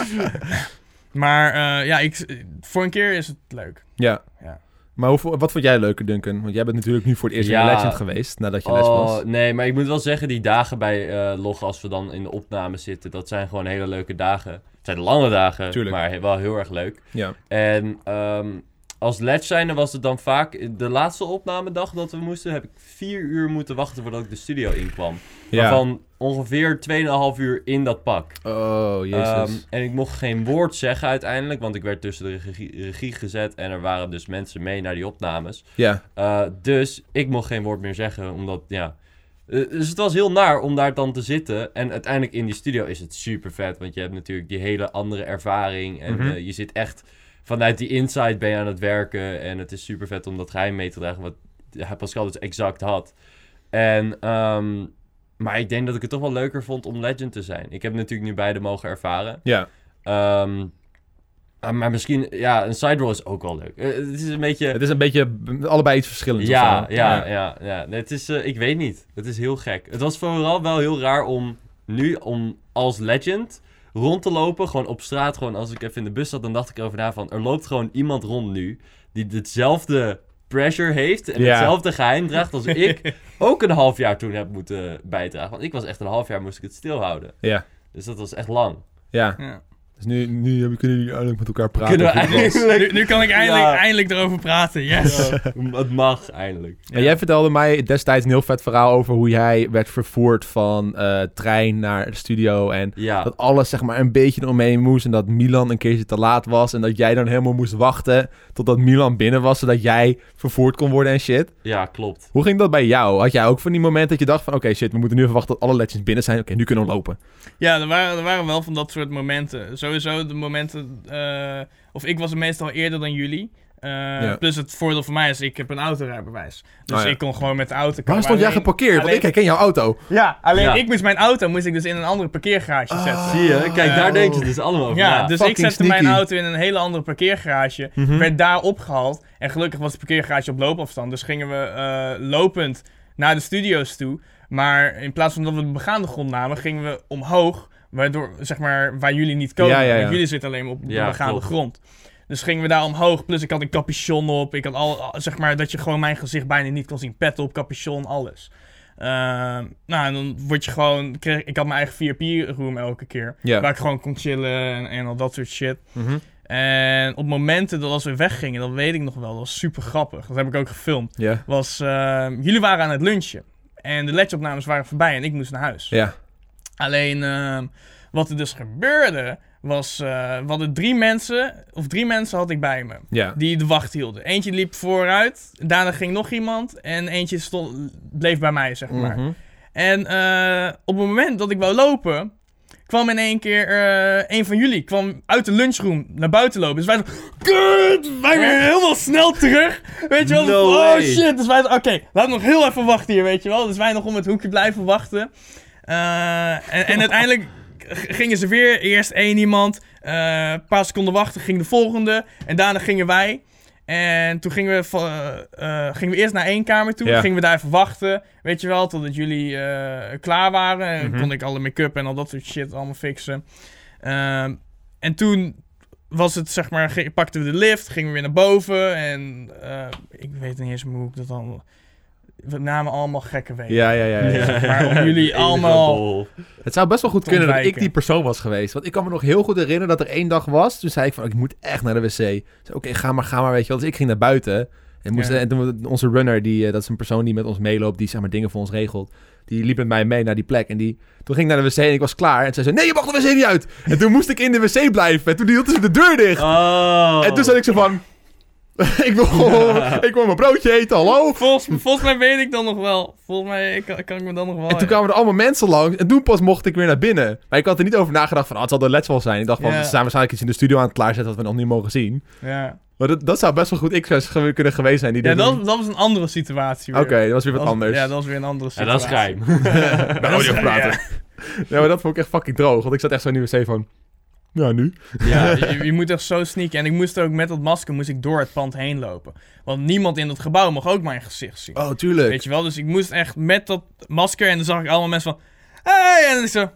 S3: maar eh, ja, ik, voor een keer is het leuk.
S1: Ja.
S3: Ja.
S1: Maar hoe, vo- wat vond jij leuker, Duncan? Want jij bent natuurlijk nu voor het eerst in de
S2: Ja.
S1: legend geweest, nadat je les was.
S2: Oh, nee, maar ik moet wel zeggen, die dagen bij eh Log, als we dan in de opname zitten, dat zijn gewoon hele leuke dagen. Het zijn lange dagen,
S1: Tuurlijk.
S2: maar he- wel heel erg leuk.
S1: Ja.
S2: En ehm, als ledge zijnde was het dan vaak de laatste opnamedag dat we moesten, heb ik vier uur moeten wachten voordat ik de studio inkwam.
S1: ja.
S2: Waarvan ongeveer 2,5 uur in dat pak.
S1: Oh, jezus.
S2: Ehm, en ik mocht geen woord zeggen uiteindelijk, want ik werd tussen de regie, regie gezet en er waren dus mensen mee naar die opnames.
S1: ja.
S2: Eh, dus ik mocht geen woord meer zeggen, omdat ja. Eh, dus het was heel naar om daar dan te zitten. En uiteindelijk in die studio is het super vet, want je hebt natuurlijk die hele andere ervaring. En
S1: Mhm.
S2: eh, je zit echt vanuit die inside ben je aan het werken. En het is super vet om dat geheim mee te dragen, wat ja, Pascal dus exact had. En, ehm, maar ik denk dat ik het toch wel leuker vond om legend te zijn. Ik heb natuurlijk nu beide mogen ervaren.
S1: Ja.
S2: Ehm, ah, maar misschien, ja, een side roll is ook wel leuk. Eh, het is een beetje...
S1: Het is een beetje b- allebei iets verschillends.
S2: Ja,
S1: of zo.
S2: ja, ja, ja. Nee, het is, eh, ik weet niet. Het is heel gek. Het was vooral wel heel raar om nu, om als legend rond te lopen, gewoon op straat, gewoon als ik even in de bus zat, dan dacht ik erover na van, er loopt gewoon iemand rond nu die hetzelfde pressure heeft en
S1: Ja.
S2: hetzelfde geheim draagt als ik ook een half jaar toen heb moeten bijdragen. Want ik was echt een half jaar moest ik het stilhouden.
S1: Ja.
S2: Dus dat was echt lang.
S1: Ja.
S3: Ja.
S1: Dus nu, nu hebben- kunnen jullie eindelijk met elkaar praten.
S2: Kunnen we
S1: over voetbal.
S2: eindelijk-
S3: Nu, nu kan ik eindelijk,
S2: Ja.
S3: eindelijk erover praten, yes.
S2: Ja, het mag eindelijk.
S1: En jij vertelde mij destijds een heel vet verhaal over hoe jij werd vervoerd van eh, trein naar de studio. En
S2: Ja,
S1: dat alles zeg maar een beetje omheen moest. En dat Milan een keertje te laat was. En dat jij dan helemaal moest wachten totdat Milan binnen was. Zodat jij vervoerd kon worden en shit.
S2: ja klopt.
S1: Hoe ging dat bij jou? Had jij ook van die moment dat je dacht van... Oké shit, we moeten nu even wachten tot alle legends binnen zijn. Oké, nu kunnen we lopen.
S3: Ja, er waren, er waren wel van dat soort momenten. Sowieso de momenten. eh, of ik was er meestal eerder dan jullie. Eh, Plus het voordeel voor mij is, ik heb een autorijbewijs. Dus
S1: Oh ja.
S3: ik kon gewoon met de auto komen.
S1: Waar stond jij
S3: Alleen-
S1: geparkeerd? Want
S3: alleen-
S1: ik herken jouw auto.
S3: Ja, alleen
S2: Ja.
S3: ik moest mijn auto moest ik dus in een andere parkeergarage
S1: Ah.
S3: zetten.
S2: Zie je, kijk, daar denken ze dus allemaal over.
S3: Ja,
S2: na.
S3: dus ik
S1: fucking
S3: zette mijn
S1: sneaky.
S3: auto in een hele andere parkeergarage.
S1: Mhm.
S3: Werd daar opgehaald. En gelukkig was de parkeergarage op loopafstand. Dus gingen we eh, lopend naar de studio's toe. Maar in plaats van dat we de begaande grond namen, gingen we omhoog. Waardoor, zeg maar, waar jullie niet komen.
S1: Ja, ja, ja.
S3: Want jullie zitten alleen maar op
S2: Ja,
S3: de begaande
S2: klopt.
S3: grond. Dus gingen we daar omhoog. Plus ik had een capuchon op. Ik had al, al- zeg maar, dat je gewoon mijn gezicht bijna niet kon zien. Pet op, capuchon, alles. Ehm, nou, en dan word je gewoon... Kreeg, ik had mijn eigen VIP-room elke keer.
S1: Ja. Mhm.
S3: Waar ik gewoon kon chillen en, en al dat soort shit. En op momenten dat als we weggingen, dat weet ik nog wel, dat was super grappig. Dat heb ik ook gefilmd.
S1: Ja.
S3: Was, eh, jullie waren aan het lunchen. En de ledgeopnames waren voorbij en ik moest naar huis.
S1: Ja.
S3: Alleen, ehm, wat er dus gebeurde, was... eh we hadden drie mensen, of drie mensen had ik bij me.
S1: Ja.
S3: Die de wacht hielden. Eentje liep vooruit, daarna ging nog iemand. En eentje stond, bleef bij mij, zeg maar.
S1: Mhm.
S3: En eh, op het moment dat ik wou lopen, kwam in één keer eh een van jullie kwam uit de lunchroom naar buiten lopen. Dus wij zo, kut, wij weer helemaal snel terug. Weet je wel,
S2: No
S3: oh
S2: way.
S3: shit. Dus wij zo, oké, laten we nog heel even wachten hier, weet je wel. Dus wij nog om het hoekje blijven wachten. Eh, en, en uiteindelijk g- gingen ze weer, eerst één iemand, eh, een paar seconden wachten, ging de volgende. En daarna gingen wij. En toen gingen we, va- eh, eh, gingen we eerst naar één kamer toe.
S1: Ja.
S3: Gingen we daar even wachten. Weet je wel, totdat jullie eh, klaar waren. En
S1: Mhm.
S3: kon ik alle make-up en al dat soort shit allemaal fixen. Ehm, en toen was het, zeg maar, ge- pakten we de lift. Gingen we weer naar boven. En eh, ik weet niet eens meer hoe ik dat allemaal... We namen allemaal gekke wegen.
S1: Ja, ja, ja, ja.
S3: Ja. Maar om jullie
S2: Enige
S3: allemaal-
S2: bol.
S1: Het zou best wel goed
S3: Te
S1: kunnen dat ik
S3: ontwijken.
S1: die persoon was geweest. Want ik kan me nog heel goed herinneren dat er één dag was. Toen zei ik van, ik moet echt naar de wc. Ik zei, Oké, ga maar, ga maar, weet je wel. Dus ik ging naar buiten. En, moest, eh,
S3: Ja.
S1: en toen, onze runner, die, eh, dat is een persoon die met ons meeloopt, die zeg maar dingen voor ons regelt. Die liep met mij mee naar die plek. En die, toen ging ik naar de wc en ik was klaar. En zij zei, nee, je mag de wc niet uit. En toen moest ik in de wc blijven. En toen hield ze de deur dicht.
S2: Oh.
S1: En toen zat ik zo van, ik, wil, gewoon- ik wil mijn broodje eten, hallo.
S3: Volgens, volgens mij weet ik dan nog wel. Volgens mij kan, kan ik me dan nog wel...
S1: En toen kwamen er allemaal mensen langs. En toen pas mocht ik weer naar binnen. Maar ik had er niet over nagedacht van, ah, het zal de letsel zijn. Ik dacht van,
S3: Ja.
S1: ze zijn waarschijnlijk iets in de studio aan het klaarzetten wat we nog niet mogen zien.
S3: Ja,
S1: Maar dat, dat zou best wel goed ik zou ge- kunnen geweest zijn. Die
S3: ja
S1: dit
S3: dat,
S1: doen.
S3: dat was een andere situatie weer.
S1: Oké, dat was weer wat
S3: Dat was-
S1: anders.
S3: Ja, dat was weer een andere
S2: Ja,
S3: situatie.
S2: dat is geheim.
S1: Bij audio praten. Ja. maar dat vond ik echt fucking droog. Want ik zat echt zo in de wc van, ja, nu?
S2: Ja,
S3: Ja, je, je moet echt zo sneaken. En ik moest ook met dat masker moest ik door het pand heen lopen. Want niemand in dat gebouw mocht ook mijn gezicht zien.
S1: Oh, tuurlijk.
S3: Weet je wel? Dus ik moest echt met dat masker. En dan zag ik allemaal mensen van. Hey! En dan zo.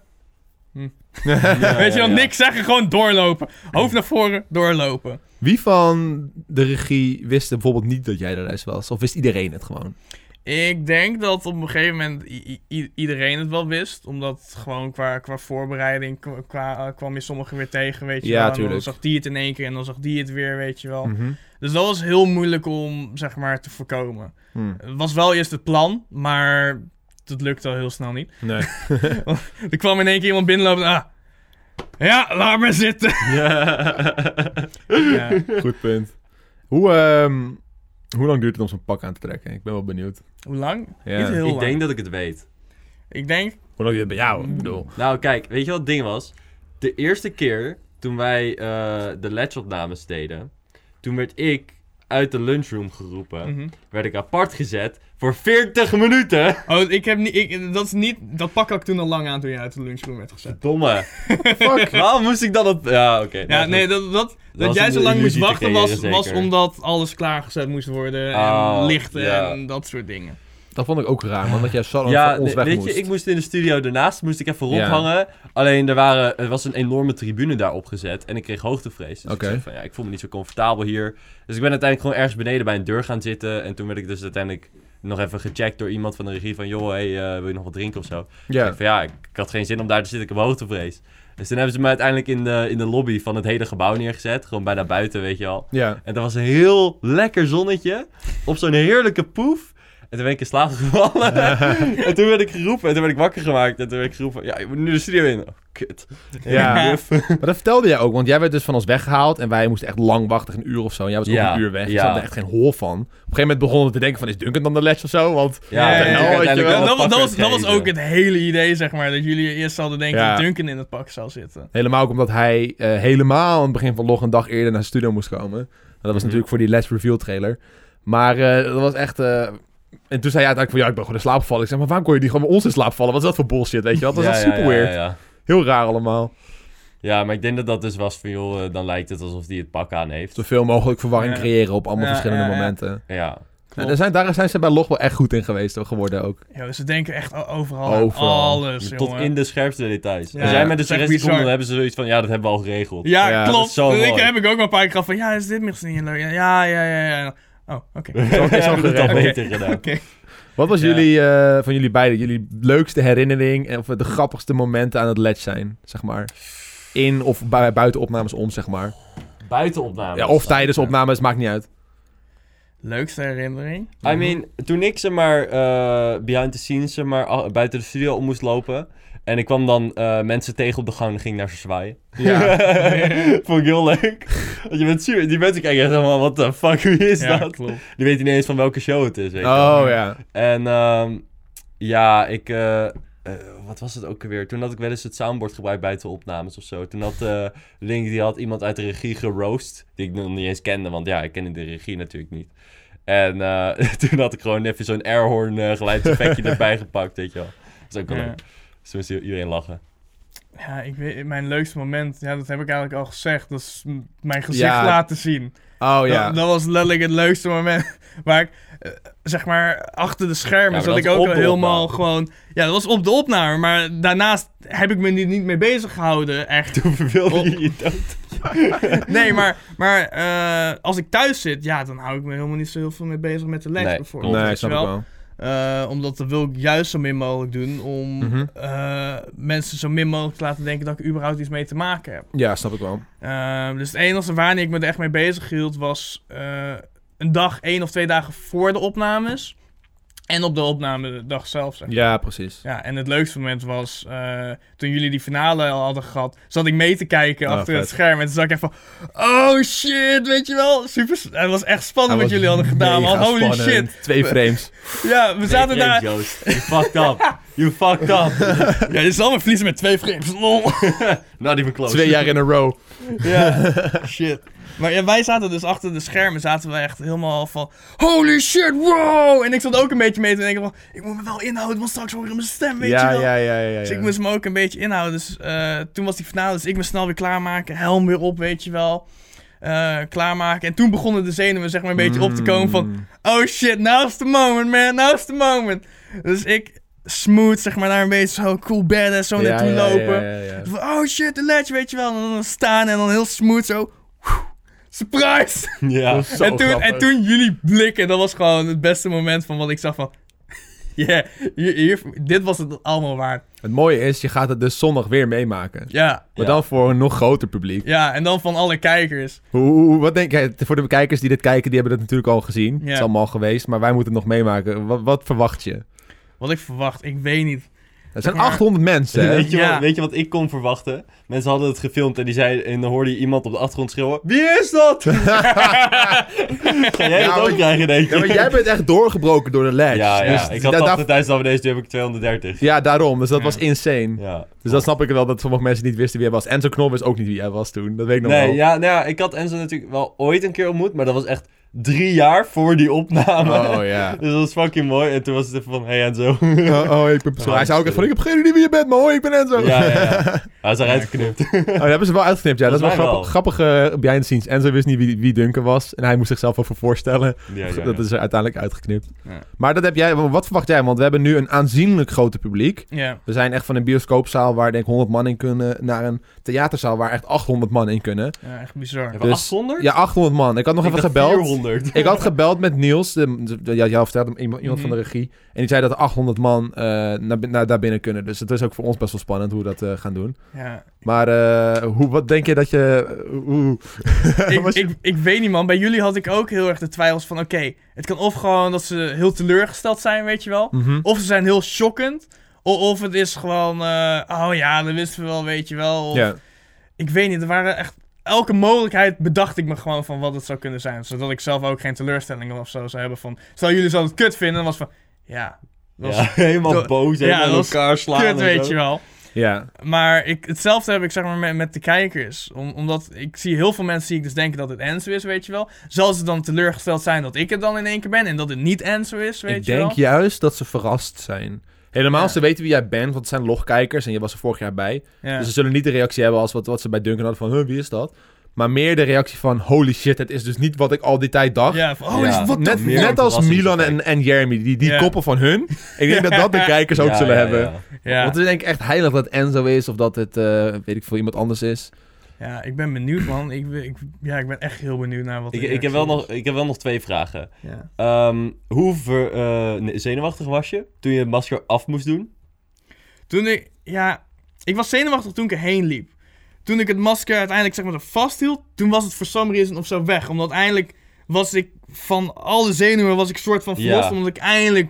S2: ja,
S3: weet je wel,
S2: ja, ja.
S3: niks zeggen, gewoon doorlopen. Hoofd naar voren, doorlopen.
S1: Wie van de regie wist bijvoorbeeld niet dat jij er eens was? Of wist iedereen het gewoon?
S3: Ik denk dat op een gegeven moment i- i- iedereen het wel wist. Omdat gewoon qua, qua voorbereiding kwa- qua, kwam je sommigen weer tegen, weet je
S1: Ja,
S3: wel. En
S1: tuurlijk.
S3: dan zag die het in één keer en dan zag die het weer, weet je wel.
S1: Mhm.
S3: Dus dat was heel moeilijk om, zeg maar, te voorkomen.
S1: Hm.
S3: Het was wel eerst het plan, maar dat lukte al heel snel niet.
S1: Nee.
S3: Er kwam in één keer iemand binnenlopen en, ah, ja, laat maar zitten. Ja.
S1: goed punt. Hoe, ehm, hoe lang duurt het om zo'n pak aan te trekken? Ik ben wel benieuwd.
S3: Hoe lang?
S1: Ja.
S3: Niet heel
S2: Ik
S3: lang.
S2: denk dat ik het weet.
S3: Ik denk,
S1: Hoe lang duurt het bij jou? Ik bedoel...
S2: Nou, kijk, weet je wat het ding was? De eerste keer toen wij eh, de ledgeopnames deden, toen werd ik uit de lunchroom geroepen,
S3: mhm.
S2: werd ik apart gezet voor 40 minuten.
S3: oh, ik heb niet, ik, dat is niet, dat pak had ik toen al lang aan toen je uit de lunchroom werd gezet.
S2: Domme.
S1: Fuck.
S2: Waarom moest ik dan dat... Ja, oké.
S3: Ja,
S2: nou,
S3: nee,
S2: goed.
S3: dat, dat, dat,
S2: was
S3: jij
S2: om
S3: zo
S2: de
S3: lang moest
S2: illusie te
S3: wachten was,
S2: creëren,
S3: was
S2: zeker.
S3: omdat alles klaargezet moest worden en
S2: Oh,
S3: lichten
S2: ja.
S3: en dat soort dingen.
S1: Dat vond ik ook raar, man. Dat jij zo lang
S2: Ja,
S1: van ons
S2: nee,
S1: weg
S2: weet
S1: moest.
S2: je, ik moest in de studio daarnaast, moest ik even
S1: Ja.
S2: rondhangen. Alleen er, waren, er was een enorme tribune daar opgezet en ik kreeg hoogtevrees. Dus
S1: Oké.
S2: ik zei van, ja, ik voel me niet zo comfortabel hier. Dus ik ben uiteindelijk gewoon ergens beneden bij een deur gaan zitten. En toen werd ik dus uiteindelijk nog even gecheckt door iemand van de regie van... joh, hey, eh, wil je nog wat drinken of zo?
S1: Ja.
S2: Ik van ja, ik, ik had geen zin om daar te zitten, ik heb hoogtevrees. Dus toen hebben ze me uiteindelijk in de, in de lobby van het hele gebouw neergezet. Gewoon bijna buiten, weet je al.
S1: Ja.
S2: En dat was een heel lekker zonnetje. Op zo'n heerlijke poef. En toen ben ik in slaap gevallen. en toen werd ik geroepen. En toen werd ik wakker gemaakt. En toen werd ik geroepen. Ja, je moet nu de studio in. Oh, kut.
S1: Ja.
S2: Juf.
S1: Maar dat vertelde jij ook, want jij werd dus van ons weggehaald en wij moesten echt lang wachten, een uur of zo. En jij was
S2: Ja,
S1: ook een uur weg. Ik
S2: ja.
S1: zat er echt geen hol van. Op een gegeven moment begonnen we te denken van, is Duncan dan de les of zo? Want
S2: Ja,
S3: Ja, ja,
S2: toen
S3: ja.
S2: heb ik uiteindelijk
S1: Ja,
S2: wel
S3: Dat,
S2: een
S3: dat, was-
S2: pak
S3: dat was, dat was
S2: gekregen.
S3: ook het hele idee, zeg maar. Dat jullie eerst zouden denken
S1: Ja.
S3: dat Duncan in het pak zou zitten.
S1: helemaal ook omdat hij eh, helemaal aan het begin van log een dag eerder naar de studio moest komen. Nou, dat was
S2: Mhm.
S1: natuurlijk voor die les reveal trailer. Maar eh, dat was echt... eh, en toen zei hij uiteindelijk van, ja, ik ben gewoon in slaap gevallen. Ik zeg, maar waarom kon je die gewoon bij ons in slaap vallen? Wat is dat voor bullshit, weet je wel? Dat was
S2: Ja,
S1: echt
S2: ja,
S1: super
S2: ja,
S1: weird.
S2: ja, ja.
S1: Heel raar allemaal.
S2: Ja, maar ik denk dat dat dus was van, joh, eh, dan lijkt het alsof die het pak aan heeft.
S1: Zoveel mogelijk verwarring
S3: Ja.
S1: creëren op allemaal
S3: Ja,
S1: verschillende
S3: ja, ja.
S1: momenten.
S2: Ja.
S1: Nou, daar, zijn, daar zijn ze bij log wel echt goed in geweest, geworden ook.
S3: Ja, ze denken echt o- overal, aan
S1: Overal.
S3: alles,
S2: Tot
S3: jongen.
S2: in de scherpste details.
S3: Ja.
S2: Als jij met de
S3: Dat is echt
S2: suggestie komt,
S3: bizar.
S2: dan hebben ze zoiets van, ja, dat hebben we al geregeld.
S3: Ja,
S1: Ja,
S2: dat is
S3: klopt.
S2: zo
S3: ik
S2: mooi.
S3: heb ik ook wel een paar keer gehad van, ja, is dit misschien niet leuk? Ja, ja, ja, ja. ja. Oh, oké.
S2: Zo
S1: zo
S2: hebben we het al
S1: geregeld.
S2: beter gedaan.
S3: Oké.
S1: Wat was
S2: Ja.
S1: jullie, eh, van jullie beiden, jullie leukste herinnering en of de grappigste momenten aan het ledge zijn, zeg maar? In of bui- buiten opnames om, zeg maar.
S2: Buiten opnames.
S1: Ja, of tijdens opnames, maakt niet uit.
S3: Leukste herinnering.
S2: I mean, toen ik zeg maar eh, behind the scenes zeg maar ah, buiten de studio om moest lopen. En ik kwam dan eh, mensen tegen op de gang en ging naar ze zwaaien.
S1: Ja.
S2: Vond ik heel leuk. Want je bent super, die mensen kijken echt helemaal, what the fuck, wie is
S3: ja,
S2: dat?
S3: klopt.
S2: Die weten niet eens van welke show het is, weet je wel.
S1: oh ja.
S2: En ehm, ja, ik. eh, eh, wat was het ook alweer? Toen had ik wel eens het soundboard gebruikt buiten opnames of zo. Toen had eh, Link die had iemand uit de regie geroost. Die ik nog niet eens kende, want ja, ik kende de regie natuurlijk niet. En eh, toen had ik gewoon even zo'n airhorn eh, geluidseffectje erbij gepakt, weet je wel. Dat is ook wel
S3: Ja.
S2: leuk. Dus toen moest iedereen lachen.
S3: Ja, ik weet, mijn leukste moment, ja, dat heb ik eigenlijk al gezegd. Dat is m- mijn gezicht
S1: Ja.
S3: laten zien.
S1: Oh ja.
S3: dat, dat was letterlijk het leukste moment. Waar ik, eh, zeg maar, achter de schermen
S2: Ja, maar
S3: zat
S2: dat
S3: ik
S2: is
S3: ook
S2: op
S3: wel
S2: de
S3: helemaal
S2: opname.
S3: gewoon... Ja, dat was op de opname, maar daarnaast heb ik me niet, niet mee bezig gehouden, echt.
S2: Toen verveelde je je dood.
S3: Nee, maar, maar eh, als ik thuis zit, ja, dan hou ik me helemaal niet zo heel veel mee bezig met de les
S2: Nee,
S3: bijvoorbeeld.
S1: Nee,
S3: nou, weet
S1: snap
S3: je
S1: ik
S3: wel.
S1: wel.
S3: Eh, omdat dat wil ik juist zo min mogelijk doen om
S1: Mhm.
S3: eh, mensen zo min mogelijk te laten denken dat ik überhaupt iets mee te maken heb.
S1: Ja, snap ik wel.
S3: Eh, dus het enige wanneer ik me er echt mee bezig hield was eh, een dag, één of twee dagen voor de opnames. En op de opname de dag zelf. Zeg.
S1: Ja, precies.
S3: Ja, en het leukste moment was eh, toen jullie die finale al hadden gehad, zat ik mee te kijken
S1: Ah,
S3: achter het
S1: vet.
S3: scherm. En toen zat ik echt van, oh shit, weet je wel, super. Het was echt spannend wat jullie hadden gedaan, man. Holy shit.
S1: Twee frames.
S3: Ja, we zaten daar.
S2: You fucked up. You fucked up.
S3: Ja, dit is allemaal verliezen met twee frames. Lol.
S2: Not even close.
S1: Twee jaar in een row.
S3: Ja, shit. Maar ja, wij zaten dus achter de schermen, zaten we echt helemaal van, holy shit, wow. En ik zat ook een beetje mee te denken van, ik moet me wel inhouden, want straks hoor ik mijn stem, weet
S1: Ja,
S3: je wel.
S1: ja, ja, ja.
S3: Dus
S1: ja.
S3: ik moest me ook een beetje inhouden. Dus eh, toen was die finale, dus ik me snel weer klaarmaken. Helm weer op, weet je wel. Eh, klaarmaken. En toen begonnen de zenuwen zeg maar een beetje op te komen van...
S1: Mm.
S3: Oh shit, now's the moment, man. Now's the moment. Dus ik smooth zeg maar daar een beetje zo cool badass zo
S1: Ja,
S3: naartoe
S1: ja, ja,
S3: lopen.
S1: ja, ja.
S3: Van, Oh shit, de ledge, weet je wel. En dan staan en dan heel smooth zo... whew, Surprise!
S2: Ja.
S1: Zo
S3: en, toen,
S1: grappig.
S3: en toen jullie blikken, dat was gewoon het beste moment van wat ik zag van... Yeah, hier, hier, dit was het allemaal waard.
S1: Het mooie is, je gaat het dus zondag weer meemaken.
S3: Ja,
S1: Maar
S2: Ja.
S1: dan voor een nog groter publiek.
S3: Ja, en dan van alle kijkers.
S1: Hoe, hoe- wat denk jij, voor de kijkers die dit kijken, die hebben dat natuurlijk al gezien.
S3: Ja.
S1: Het is allemaal geweest, maar wij moeten het nog meemaken. Wat, wat verwacht je?
S3: Wat ik verwacht, ik weet niet.
S1: Het zijn
S3: maar-
S1: 800 mensen, hè?
S2: Weet je,
S3: Ja.
S2: wat, weet je wat ik kon verwachten? Mensen hadden het gefilmd en die zeiden, en dan hoorde je iemand op de achtergrond schreeuwen: Wie is dat? Ga jij
S1: Ja,
S2: dat
S1: maar-
S2: ook krijgen, denk ik?
S1: Ja, maar jij bent echt doorgebroken door de ledge.
S2: ja, ja.
S1: Dus
S2: ik
S1: da- daar-
S2: had 80.000 abonnees, nu heb ik 230.
S1: ja, daarom. Dus dat
S3: Ja.
S1: was insane.
S2: Ja.
S1: Dus dat snap ik wel, dat sommige mensen niet wisten wie hij was. Enzo Knol wist ook niet wie hij was toen. Dat weet ik nog
S2: Nee,
S1: wel.
S2: ja, nou ja, ik had Enzo natuurlijk wel ooit een keer ontmoet, maar dat was echt drie jaar voor die opname.
S1: Oh ja.
S2: Dus dat was fucking mooi. En toen was het even van, hey Enzo.
S1: Oh, oh, ik ben persoon. Hij zei ook echt van, ik heb geen idee wie je bent, maar hoi, ik ben Enzo.
S2: ja, ja, ja. Hij is eruit geknipt.
S1: Oh, dat hebben ze wel uitgeknipt, ja. Dat,
S2: Dat
S1: is wel
S2: waren
S1: grappig, grappig eh, behind the scenes. Enzo wist niet wie, wie Duncan was en hij moest zichzelf over voorstellen.
S2: Ja, ja,
S1: Dat
S2: ja.
S1: is er uiteindelijk uitgeknipt.
S3: Ja.
S1: Maar dat heb jij, wat verwacht jij? Want we hebben nu een aanzienlijk groter publiek.
S3: Ja.
S1: We zijn echt van een bioscoopzaal waar denk ik 100 man in kunnen... naar een theaterzaal waar echt 800 man in kunnen.
S3: ja, echt bizar.
S2: Even
S1: Dus-
S2: 800?
S1: Ja, 800 man. Ik had nog
S2: Ik
S1: even
S2: dacht
S1: gebeld.
S2: 400. 800.
S1: Ik had gebeld met Niels, de, de- de- ja, jij vertelde hem, iemand, iemand van
S3: Mhm.
S1: de regie. En die zei dat er 800 man eh, naar, bin- naar, daar binnen kunnen. Dus het is ook voor ons best wel spannend hoe we dat eh, gaan doen.
S3: Ja.
S1: Maar eh, hoe, wat denk je dat je... eh, hoe- hoe-
S3: ik,
S1: was je-
S3: ik, ik weet niet, man. Bij jullie had ik ook heel erg de twijfels van... Oké, het kan of gewoon dat ze heel teleurgesteld zijn, weet je wel.
S1: Mhm.
S3: Of ze zijn heel shockend. o- Of, het is gewoon... eh, oh ja, dat wisten we wel, weet je wel. Of-
S1: Ja.
S3: Ik weet niet, er waren echt... Elke mogelijkheid bedacht ik me gewoon van wat het zou kunnen zijn. Zodat ik zelf ook geen teleurstellingen of zo zou hebben van... Stel, jullie zouden het kut vinden. Dan was het van... Ja, dat was
S2: Ja, helemaal
S3: dat-
S2: boos,
S3: ja,
S2: helemaal aan
S3: dat was
S2: elkaar slaan
S3: kut,
S2: en
S3: weet
S2: zo.
S3: je wel.
S1: ja.
S3: Maar ik, hetzelfde heb ik zeg maar met, met de kijkers. Om, omdat ik zie heel veel mensen die ik dus denken dat het Enzo is, weet je wel. Zal ze dan teleurgesteld zijn dat ik het dan in één keer ben en dat het niet Enzo is, weet
S1: ik
S3: je
S1: denk
S3: wel.
S1: juist dat ze verrast zijn. Helemaal,
S3: Ja.
S1: ze weten wie jij bent, want het zijn logkijkers en je was er vorig jaar bij.
S3: Ja.
S1: Dus ze zullen niet de reactie hebben als wat, wat ze bij Duncan hadden van, huh, wie is dat? Maar meer de reactie van, holy shit, het is dus niet wat ik al die tijd dacht.
S3: Ja, van, oh,
S2: Ja.
S3: is het wat
S1: Net,
S2: Meer
S1: net
S2: een
S1: als Milan en,
S2: verrassingseffect.
S1: en Jeremy, die, die
S3: Ja.
S1: koppen van hun. Ik denk dat dat de kijkers ook
S2: Ja,
S1: zullen
S2: ja,
S1: hebben.
S2: ja.
S3: ja.
S1: Want het is denk ik echt heilig dat het Enzo is of dat het, eh, weet ik veel, iemand anders is.
S3: ja, ik ben benieuwd, man. Ik, ben- ik, ja, ik ben echt heel benieuwd naar wat
S2: Ik,
S3: de
S2: ik, heb wel
S3: reactie
S2: nog, ik heb wel nog twee vragen.
S3: is. Ja.
S2: Ehm, hoe ver, eh, nee, zenuwachtig was je toen je het masker af moest doen?
S3: Toen ik, ja, ik was zenuwachtig toen ik erheen liep. Toen ik het masker uiteindelijk zeg maar er vasthield, toen was het voor some reason of zo weg. Omdat eindelijk was ik van al de zenuwen was ik soort van
S2: Ja.
S3: verlost. Omdat ik eindelijk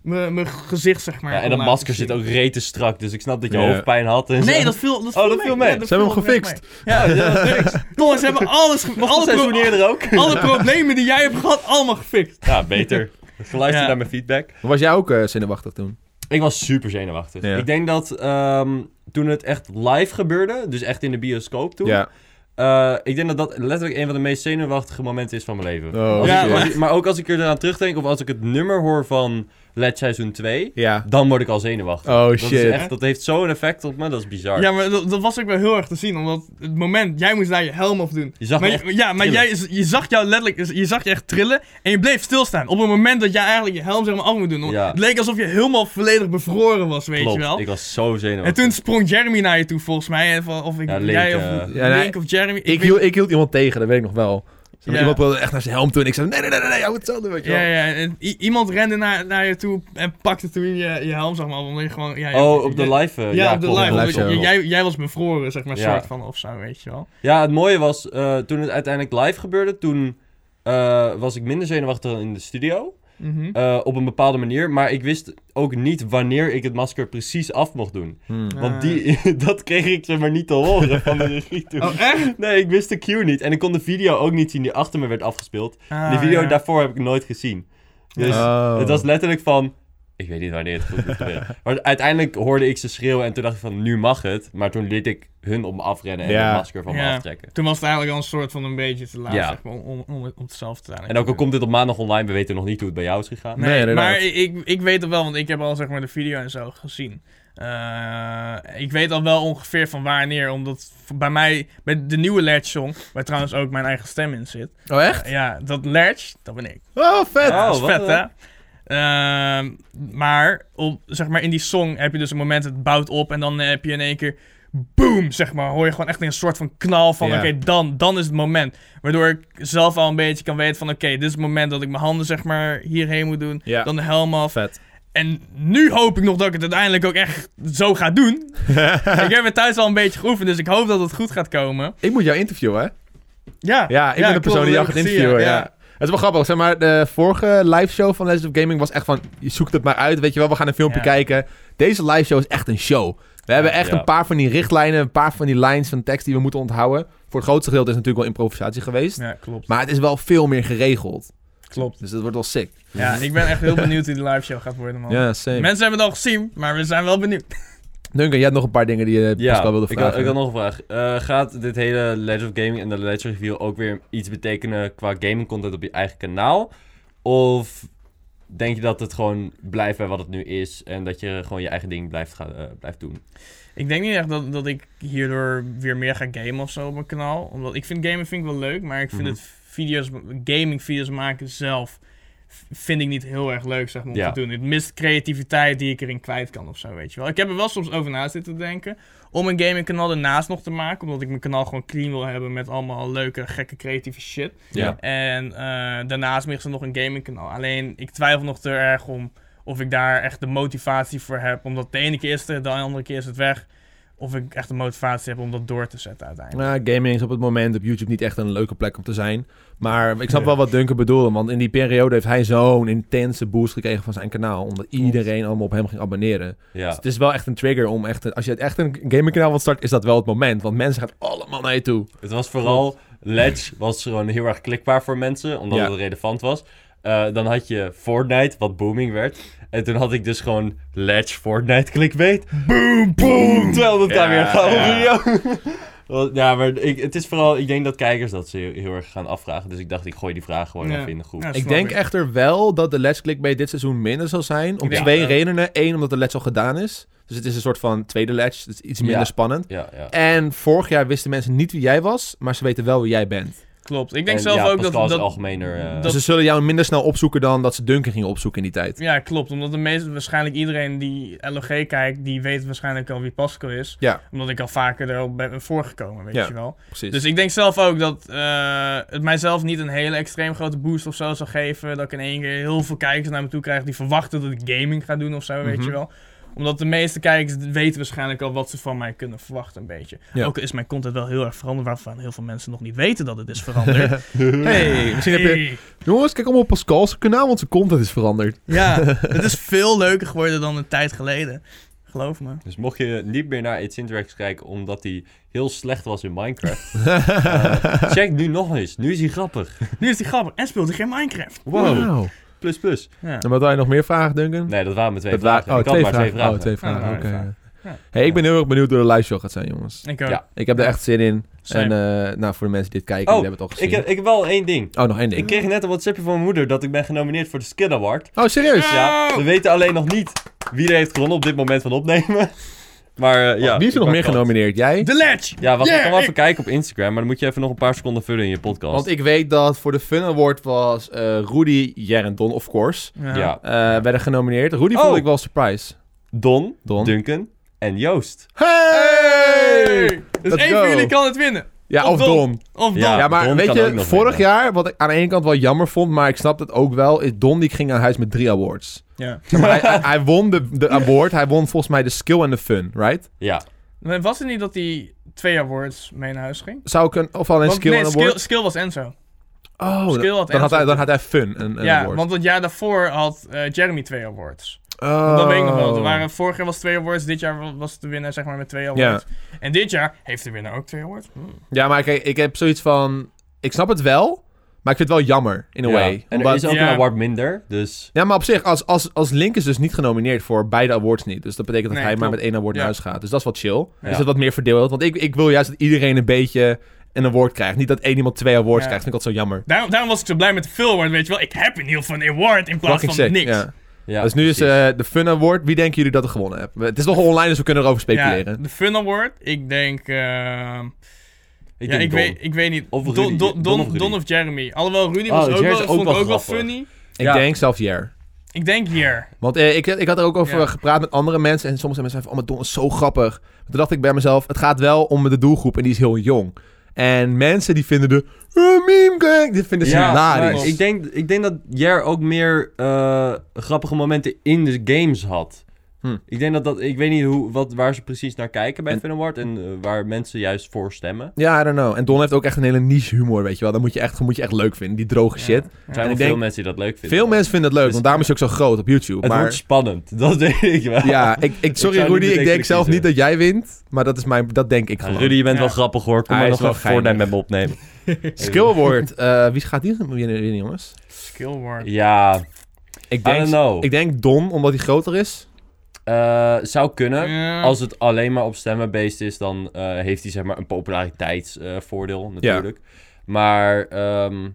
S3: me- mijn gezicht zeg maar
S2: Ja, en
S3: kon
S2: dat
S3: laten
S2: masker
S3: zien.
S2: zit ook rete strak, dus ik snap dat je
S1: Ja.
S2: hoofdpijn had. En
S3: Nee,
S2: zo.
S3: dat viel, dat
S2: Oh, dat viel mee.
S3: Ja, dat
S1: Ze hebben
S3: viel
S1: hem
S3: echt
S1: gefixt.
S3: mee. Ja,
S2: Ja, dat is niks.
S3: jongens, ze hebben alles, ge- alle,
S2: Alle
S3: pro-
S2: seizoen eerder ook.
S3: alle problemen die jij hebt gehad, allemaal gefixt.
S2: Ja, beter. Geluisterd
S3: Ja.
S2: naar mijn feedback.
S1: Maar was jij ook eh, zenuwachtig toen?
S2: Ik was super zenuwachtig.
S1: Ja.
S2: Ik denk dat ehm, toen het echt live gebeurde, dus echt in de bioscoop toen,
S1: Ja.
S2: eh, ik denk dat dat letterlijk een van de meest zenuwachtige momenten is van mijn leven.
S1: Oh,
S2: Als
S3: Ja,
S2: ik-
S3: maar-
S2: als ik- maar ook als ik er aan terugdenk of als ik het nummer hoor van Let Seizoen 2,
S1: Ja.
S2: dan word ik al zenuwachtig.
S1: Oh
S2: Dat, is
S1: shit.
S2: echt, dat heeft zo'n effect op me, dat is bizar.
S3: Ja, maar dat, dat was ook wel heel erg te zien. Omdat het moment, jij moest daar je helm af doen.
S2: Je zag
S3: Maar
S2: me
S3: je- ja, maar jij, je zag jou letterlijk, je zag je echt trillen en je bleef stilstaan. Op het moment dat jij eigenlijk je helm zeg maar af moet doen. want
S2: Ja.
S3: Het leek alsof je helemaal volledig bevroren was, weet
S2: Klopt,
S3: je wel.
S2: ik was zo
S3: En
S2: zenuwachtig.
S3: toen sprong Jeremy naar je toe volgens mij. en van- Of ik,
S2: Ja, Link,
S3: jij of
S2: eh.
S1: Ja, nee,
S3: Link of Jeremy.
S1: Ik,
S3: weet-
S1: hield, ik hield iemand tegen, dat weet ik nog wel. Zeg maar,
S3: Ja.
S1: Iemand wilde echt naar zijn helm toe en ik zei, nee, nee, nee, nee, nee, hou het zo doen, weet je wel.
S3: ja, ja, en i- iemand rende naar, naar je toe en pakte toen je, je helm zeg maar af. Omdat je gewoon, ja, je-
S2: Oh, op de
S3: je-
S2: live. eh,
S3: Ja, op de
S2: klopt,
S3: live.
S2: klopt,
S3: omdat
S1: live show.
S3: je-
S2: klopt.
S3: jij, jij was bevroren, zeg maar,
S2: Ja.
S3: soort van of zo, weet je wel.
S2: Ja, het mooie was, eh, toen het uiteindelijk live gebeurde, toen eh, was ik minder zenuwachtig dan in de studio.
S3: Mhm.
S2: eh, op een bepaalde manier, maar ik wist ook niet wanneer ik het masker precies af mocht doen.
S1: Hmm.
S3: Ja.
S2: Want die, dat kreeg ik zeg maar niet te horen van de regie toen.
S3: Oh, echt?
S2: Nee, ik wist de cue niet. En ik kon de video ook niet zien die achter me werd afgespeeld. de
S3: Ah,
S2: video
S3: ja.
S2: daarvoor heb ik nooit gezien. Dus
S1: Oh.
S2: het was letterlijk van... Ik weet niet wanneer het goed moet gebeuren. maar uiteindelijk hoorde ik ze schreeuwen en toen dacht ik van, nu mag het. Maar toen liet ik hun op me afrennen en
S1: Ja.
S2: het masker van me
S3: Ja.
S2: aftrekken.
S3: Toen was het eigenlijk al een soort van een beetje te laat
S2: Ja.
S3: zeg maar, om, om, om, het- om het zelf te zijn.
S2: En ook al komt dit op maandag online, we weten nog niet hoe het bij jou is gegaan.
S1: Nee,
S3: Nee,
S1: inderdaad.
S3: maar ik, ik- ik weet het wel, want ik heb al zeg maar de video en zo gezien. Eh, ik weet al wel ongeveer van wanneer, omdat v- bij mij, bij de nieuwe Ledge song, waar trouwens ook mijn eigen stem in zit.
S1: Oh, echt?
S3: Ja, dat Ledge, dat ben ik.
S1: Oh, vet.
S2: Ja.
S3: dat is
S2: wat,
S3: vet,
S2: eh.
S3: hè? Ehm, maar, op, zeg maar in die song heb je dus een moment, het bouwt op en dan heb je in één keer, boom, zeg maar, hoor je gewoon echt een soort van knal van,
S1: Ja.
S3: oké, dan, dan is het moment. Waardoor ik zelf al een beetje kan weten van, oké, dit is het moment dat ik mijn handen zeg maar hierheen moet doen,
S1: Ja.
S3: dan de helm af.
S1: Vet.
S3: En nu hoop ik nog dat ik het uiteindelijk ook echt zo ga doen. ik heb het thuis al een beetje geoefend, dus ik hoop dat het goed gaat komen.
S1: Ik moet jou interviewen, hè?
S3: Ja,
S1: Ja, ik ben de
S3: klopt,
S1: persoon die jou
S3: dat
S1: gaat
S3: heb ik gezien,
S1: interviewen. Ja. Het is wel grappig, zeg maar, de vorige liveshow van Legends of Gaming was echt van, je zoekt het maar uit, weet je wel, we gaan een filmpje
S3: Ja.
S1: kijken. Deze liveshow is echt een show. We hebben echt
S2: Ja.
S1: een paar van die richtlijnen, een paar van die lines van tekst die we moeten onthouden. Voor het grootste gedeelte is het natuurlijk wel improvisatie geweest,
S3: Ja, klopt.
S1: maar het is wel veel meer geregeld.
S3: Klopt.
S1: Dus dat wordt wel sick.
S3: Ja, ik ben echt heel benieuwd hoe de live show gaat worden, man.
S1: Ja, same.
S3: Mensen hebben het al gezien, maar we zijn wel benieuwd.
S1: Duncan, jij had nog een paar dingen die je
S2: Ja,
S1: Pascal wilde
S2: ik, had,
S1: vragen.
S2: ik had nog een vraag. Eh, gaat dit hele Legend of Gaming en de Legend Review ook weer iets betekenen qua gaming content op je eigen kanaal? Of denk je dat het gewoon blijft bij wat het nu is en dat je gewoon je eigen ding blijft, gaan, eh, blijft doen?
S3: Ik denk niet echt dat, dat ik hierdoor weer meer ga gamen of zo op mijn kanaal. Omdat ik vind gamen vind ik wel leuk, maar ik vind
S2: Mhm.
S3: het video's, gaming video's maken zelf vind ik niet heel erg leuk zeg maar, om
S2: Ja.
S3: te doen. Het mist creativiteit die ik erin kwijt kan of zo, weet je wel. Ik heb er wel soms over na zitten denken om een gaming kanaal ernaast nog te maken, omdat ik mijn kanaal gewoon clean wil hebben met allemaal leuke, gekke, creatieve shit.
S2: Ja.
S3: En eh, daarnaast ligt er nog een gaming kanaal. Alleen ik twijfel nog te erg om of ik daar echt de motivatie voor heb, omdat de ene keer is het er, de andere keer is het weg. Of ik echt de motivatie heb om dat door te zetten uiteindelijk.
S1: Ja, Nou, gaming is op het moment op YouTube niet echt een leuke plek om te zijn. Maar ik snap
S2: Ja.
S1: wel wat Duncan bedoelde. Want in die periode heeft hij zo'n intense boost gekregen van zijn kanaal. Omdat iedereen allemaal op hem ging abonneren. Dus
S2: Ja.
S1: het is wel echt een trigger om echt... Een, als je het echt een gamingkanaal wilt starten, is dat wel het moment. Want mensen gaan allemaal naar je toe.
S2: Het was vooral... Ledge was gewoon heel erg klikbaar voor mensen, omdat
S1: Ja.
S2: het relevant was. Eh, dan had je Fortnite, wat booming werd. En toen had ik dus gewoon Ledge Fortnite clickbait. Boom, boom! 200k
S1: Ja,
S2: weer gaan
S1: ja.
S2: video. Want- Ja, maar ik, het is vooral... Ik denk dat kijkers dat ze heel, heel erg gaan afvragen. Dus ik dacht, ik gooi die vraag gewoon
S3: Ja.
S2: even in de groep.
S3: Ja,
S1: Ik
S3: snap
S1: denk
S3: ik.
S1: echter wel dat de Let's Clickbait dit seizoen minder zal zijn. Om
S3: Ik denk
S1: twee
S3: het ook.
S1: redenen. Eén, omdat de Let's al gedaan is. Dus het is een soort van tweede Let's. Het is iets minder
S2: Ja.
S1: spannend.
S2: Ja, ja.
S1: En vorig jaar wisten mensen niet wie jij was, maar ze weten wel wie jij bent.
S3: Klopt. Ik denk
S2: En
S3: zelf
S2: ja,
S3: ook dat,
S2: Pascal is
S3: dat,
S2: algemener... eh,
S1: Dus
S3: Dat-
S1: ze zullen jou minder snel opzoeken dan dat ze Duncan gingen opzoeken in die tijd.
S3: Ja, klopt. Omdat de meeste, waarschijnlijk iedereen die LOG kijkt, die weet waarschijnlijk al wie Pascal is.
S1: Ja.
S3: Omdat ik al vaker erop ben voorgekomen, weet
S1: Ja.
S3: je wel.
S1: Precies.
S3: Dus ik denk zelf ook dat eh, het mijzelf niet een hele extreem grote boost of zo zal geven. Dat ik in één keer heel veel kijkers naar me toe krijg die verwachten dat ik gaming ga doen of zo, weet
S1: Mhm.
S3: je wel. Omdat de meeste kijkers weten waarschijnlijk al wat ze van mij kunnen verwachten een beetje.
S1: Ja.
S3: Ook is mijn content wel heel erg veranderd, waarvan heel veel mensen nog niet weten dat het is veranderd.
S1: hey, misschien heb je...
S3: Hey.
S1: Jongens, kijk allemaal op Pascal's kanaal, want zijn content is veranderd.
S3: Ja, het is veel leuker geworden dan een tijd geleden. Geloof me.
S2: Dus mocht je niet meer naar It's Interacts kijken omdat hij heel slecht was in Minecraft, eh, check nu nog eens. Nu is hij grappig.
S3: Nu is die grappig en speelt hij geen Minecraft.
S2: Wow.
S1: Wauw.
S2: Plus plus.
S3: Ja.
S1: En wat wil je nog meer vragen, Duncan?
S2: Nee, dat waren mijn twee
S1: Dat
S2: vragen.
S1: waren-
S2: ik
S1: oh,
S2: had
S1: twee
S2: maar
S1: vragen.
S2: twee vragen.
S1: Oh, twee vragen.
S3: Ja,
S1: Oké.
S3: ja. Ja.
S1: Hey, ik ben heel erg benieuwd hoe de live show gaat zijn, jongens.
S3: Ik ook.
S2: Ja.
S1: Ik heb er echt zin in.
S3: Same.
S1: En eh, nou, voor de mensen die dit kijken,
S2: Oh,
S1: die hebben het al gezien.
S2: Ik heb, ik heb wel één ding.
S1: Oh, nog één
S2: Ik
S1: ding.
S2: kreeg net een WhatsAppje van mijn moeder dat ik ben genomineerd voor de Skid Award.
S1: Oh, serieus?
S3: Ja.
S2: Ja, we weten alleen nog niet wie er heeft gewonnen op dit moment van opnemen. Maar eh, ja.
S1: Wie is er nog
S2: ik
S1: meer
S2: maak kans.
S1: genomineerd? Jij?
S3: De ledge!
S2: Ja, wacht, ik
S3: Yeah,
S2: kan wel
S3: ik-
S2: even kijken op Instagram, maar dan moet je even nog een paar seconden vullen in je podcast.
S1: Want ik weet dat voor de Fun Award was eh, Rudy Jerendon, of course.
S2: Ja,
S1: Eh, werden genomineerd. Rudy
S2: Oh.
S1: vond ik wel surprise.
S2: Don,
S1: Don.
S2: Duncan en Joost.
S1: Hey!
S3: Dus
S1: Let's
S3: één
S1: go.
S3: van jullie kan het winnen.
S1: Ja, of
S3: Of Don.
S1: Don.
S3: Of
S2: Ja.
S3: dan.
S1: Ja, maar
S2: Don
S1: weet
S2: kan ook
S1: je,
S2: nog
S1: vorig
S2: meedoen.
S1: jaar, wat ik aan de ene kant wel jammer vond, maar ik snap het ook wel, is Don die ging naar huis met drie awards.
S3: Ja.
S1: Zeg maar, hij, hij, hij won de, de award, hij won volgens mij de skill en de fun, right?
S2: Ja,
S3: Maar Was het niet dat hij twee awards mee naar huis ging?
S1: Zou ik een, of alleen
S3: Want,
S1: skill
S3: nee,
S1: en
S3: skill,
S1: award?
S3: skill was Enzo.
S1: Oh,
S3: skill
S1: dan-
S3: had
S1: dan, had
S3: Enzo.
S1: hij, dan had hij fun en een
S3: ja,
S1: award.
S3: want het jaar daarvoor had eh, Jeremy twee awards.
S1: oh.
S3: Dat weet ik nog wel. Er waren, vorig jaar was twee awards, dit jaar wa- was de winnaar zeg maar met twee awards. En dit jaar heeft de winnaar ook twee awards. Hmm.
S1: Ja, maar kijk, ik heb zoiets van, ik snap het wel, maar ik vind het wel jammer, in a
S2: Ja.
S1: way.
S2: En er
S1: Omdat-
S2: is ook
S3: Ja.
S2: een award minder, dus...
S1: Ja, maar op zich, als, als, als Link is dus niet genomineerd voor beide awards niet. Dus dat betekent dat
S3: Nee,
S1: hij maar
S3: klopt.
S1: met één award naar
S3: Ja.
S1: huis gaat. Dus dat is wat chill.
S2: Ja.
S1: Is dat wat meer verdeeld? Want ik, ik wil juist dat iedereen een beetje een award krijgt. Niet dat één iemand twee awards
S3: Ja.
S1: krijgt. Vind ik altijd zo jammer.
S3: Daarom, daarom was ik zo blij met de Phil Award, weet je wel. Ik heb in ieder geval een award in plaats
S1: Fucking
S3: van
S1: sick,
S3: niks.
S1: ja.
S2: Ja,
S1: dus nu is
S2: precies.
S1: eh, de Fun Award. Wie denken jullie dat er gewonnen hebt? Het is nog online, dus we kunnen erover speculeren.
S3: Ja, de Fun Award, ik denk... ehm,
S2: ik
S3: ja,
S2: denk
S3: ik
S2: Don.
S3: weet, ik weet niet.
S2: Of
S3: Don,
S2: Rudy.
S3: Don, Don,
S2: Don of
S3: of
S2: Rudy.
S3: Don of Jeremy. Alhoewel, Rudy
S2: Oh,
S3: was ook
S2: Jeremy
S3: wel,
S2: is ook
S3: vond ik
S2: wel
S3: ook wel
S2: grappig.
S3: funny.
S1: Ik
S2: Ja.
S1: denk zelf Jair.
S3: Ik denk hier.
S1: Want eh, ik, ik had er ook over
S3: Ja.
S1: gepraat met andere mensen. En sommige mensen zeiden van, oh, maar Don is zo grappig. Maar Toen dacht ik bij mezelf, het gaat wel om de doelgroep. En die is heel jong. En mensen die vinden de... eh, meme gang, dit vinden ze hilarisch.
S2: maar Ik denk, ik denk dat Jer ook meer eh, grappige momenten in de games had.
S1: Hm.
S2: Ik denk dat dat, ik weet niet hoe, wat, waar ze precies naar kijken bij
S1: En-
S2: Fun Award en eh, waar mensen juist voor stemmen.
S1: Ja, I don't know. En Don heeft ook echt een hele niche humor, weet je wel. Dat moet je echt, moet je echt leuk vinden, die droge shit.
S2: Er
S3: Ja.
S2: zijn
S1: En
S2: wel
S1: ik
S2: veel
S1: denk-
S2: mensen die dat leuk vinden.
S1: Veel mensen vinden het leuk,
S2: Dus-
S1: want daarom is hij ook zo groot op YouTube.
S2: Het wordt
S1: Maar
S2: spannend, dat denk ik wel.
S1: ja, ik, ik, sorry
S2: zou niet
S1: Rudy, ik
S2: meteen
S1: denk zelf
S2: kiezen.
S1: niet dat jij wint. Maar dat, is mijn, dat denk ik
S2: Ja,
S1: gewoon.
S2: Rudy, je bent
S3: Ja.
S2: wel grappig hoor. Kom
S1: Hij
S2: maar
S1: is
S2: nog
S1: wel
S2: even Fortnite
S1: geinig.
S2: met me opnemen.
S1: Skill award. Eh, wie gaat die winnen, winnen, jongens?
S3: Skill Award.
S2: Ja,
S1: Ik
S2: I don't
S1: denk,
S2: know.
S1: ik denk Don, omdat hij groter is.
S2: Eh, zou kunnen.
S3: Ja.
S2: Als het alleen maar op stemmen based is, dan eh, heeft hij zeg maar een populariteitsvoordeel natuurlijk. Maar eh, ehm,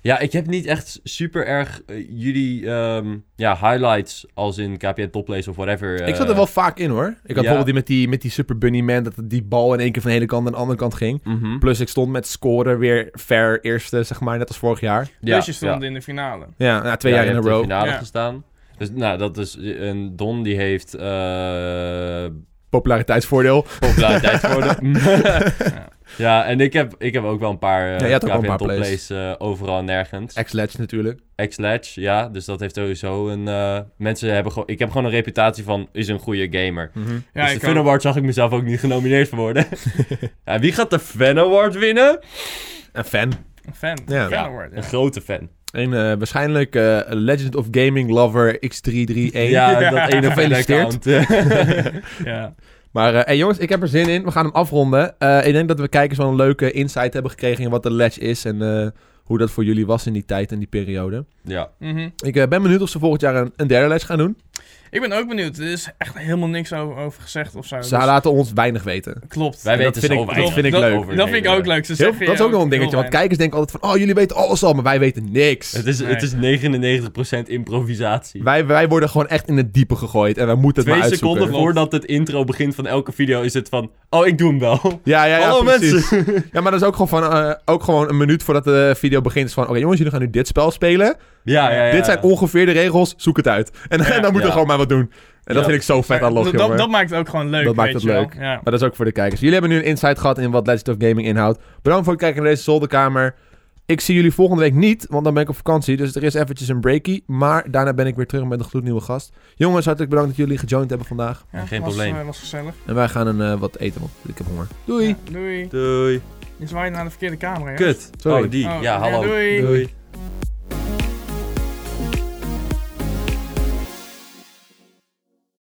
S2: Ja, ik heb niet echt super erg eh, jullie ehm, ja, highlights als in KPN Topplays of whatever.
S1: ik zat
S2: eh,
S1: er wel vaak in hoor. Ik had bijvoorbeeld die met, die met die Super Bunny Man, dat die bal in één keer van de ene kant naar de andere kant ging.
S2: mhm.
S1: Plus ik stond met scoren weer ver eerste, zeg maar, net als vorig jaar.
S2: Ja,
S3: dus je
S2: ja.
S3: stond in de finale.
S1: Ja, nou, twee
S2: Ja,
S1: jaar
S2: je
S1: in een
S2: hebt in de
S1: row.
S2: finale
S3: Ja.
S2: gestaan. Dus nou, dat is een Don die heeft eh
S1: Populariteitsvoordeel.
S2: populariteit geworden.
S3: Ja.
S2: ja, en ik heb, ik heb ook wel een paar
S1: Ja, je
S2: eh
S1: had ook wel een
S2: KPN
S1: paar
S2: Topplays eh, overal en nergens.
S1: Ex-Ledge natuurlijk.
S2: X-Ledge, ja, dus dat heeft sowieso een... eh, mensen hebben gewoon... Ik heb gewoon een reputatie van, is een goede gamer.
S1: Mhm.
S3: Ja,
S2: dus
S3: ik
S2: de
S3: ook.
S2: Fan Award zag ik mezelf ook niet genomineerd voor worden. ja, wie gaat de Fan Award winnen?
S1: Een fan.
S3: Een fan.
S1: Ja.
S3: Fan award,
S2: Een
S3: ja.
S2: grote fan.
S1: Een eh, waarschijnlijk eh, Legend of Gaming Lover X331.
S2: Ja, dat ene
S1: Gefeliciteerd.
S2: account. eh.
S3: Ja.
S1: Maar eh hey, jongens, ik heb er zin in. We gaan hem afronden. Eh, ik denk dat we kijkers wel een leuke insight hebben gekregen in wat de Ledge is en eh, hoe dat voor jullie was in die tijd en die periode.
S2: ja.
S3: Mhm.
S1: Ik eh, ben benieuwd of ze volgend jaar een, een derde Ledge gaan doen.
S3: Ik ben ook benieuwd. Er is echt helemaal niks over, over gezegd of zo.
S1: Ze
S3: Dus-
S1: laten ons weinig weten.
S3: klopt.
S2: Wij
S1: En dat
S2: weten
S1: vind
S2: zo
S1: ik- dat
S2: weinig
S1: vind ik
S2: over
S1: leuk.
S2: de
S3: Dat vind ik
S2: hele-
S3: ook leuk. Ze
S1: Heel-
S3: zeggen
S1: dat is
S3: je
S1: ook nog een dingetje,
S3: heel
S1: want kijkers denken altijd van... Oh, jullie weten alles al, maar wij weten niks.
S2: Het is, het is 99% improvisatie.
S1: Wij, wij worden gewoon echt in het diepe gegooid en wij moeten het
S2: Twee
S1: maar uitzoeken.
S2: seconden voordat het intro begint van elke video is het van... Oh, ik doe hem wel.
S1: Ja, ja, ja,
S2: Hallo
S1: precies.
S2: mensen.
S1: Ja, maar dat is ook gewoon, van, eh, ook gewoon een minuut voordat de video begint. Is van, oké jongens, jullie gaan nu dit spel spelen.
S2: Ja, ja, ja.
S1: Dit zijn ongeveer de regels, zoek het uit. En,
S3: Ja.
S1: dan moeten we
S2: Ja.
S1: gewoon maar wat doen. En dat
S2: Ja.
S1: vind ik zo vet aan Log,
S3: dat,
S1: jongen.
S3: dat, dat maakt het ook gewoon leuk.
S1: Dat maakt
S3: weet
S1: het
S3: je wel.
S1: leuk.
S3: Ja.
S1: Maar dat is ook voor de kijkers. Jullie hebben nu een insight gehad in wat Legend of Gaming inhoudt. Bedankt voor het kijken naar deze zolderkamer. Ik zie jullie volgende week niet, want dan ben ik op vakantie. Dus er is eventjes een breakie. Maar daarna ben ik weer terug met een gloednieuwe gast. Jongens, hartelijk bedankt dat jullie gejoind hebben vandaag.
S3: Ja,
S2: Geen
S3: was,
S2: probleem.
S3: eh, was gezellig.
S1: En wij gaan een, eh, wat eten, want ik heb honger. Doei!
S3: Ja, doei.
S2: Doei.
S3: Je zwaait naar de verkeerde camera, hè?
S2: Kut.
S1: Sorry.
S2: Oh, die.
S3: Oh,
S2: ja, hallo.
S3: doei.
S1: Doei.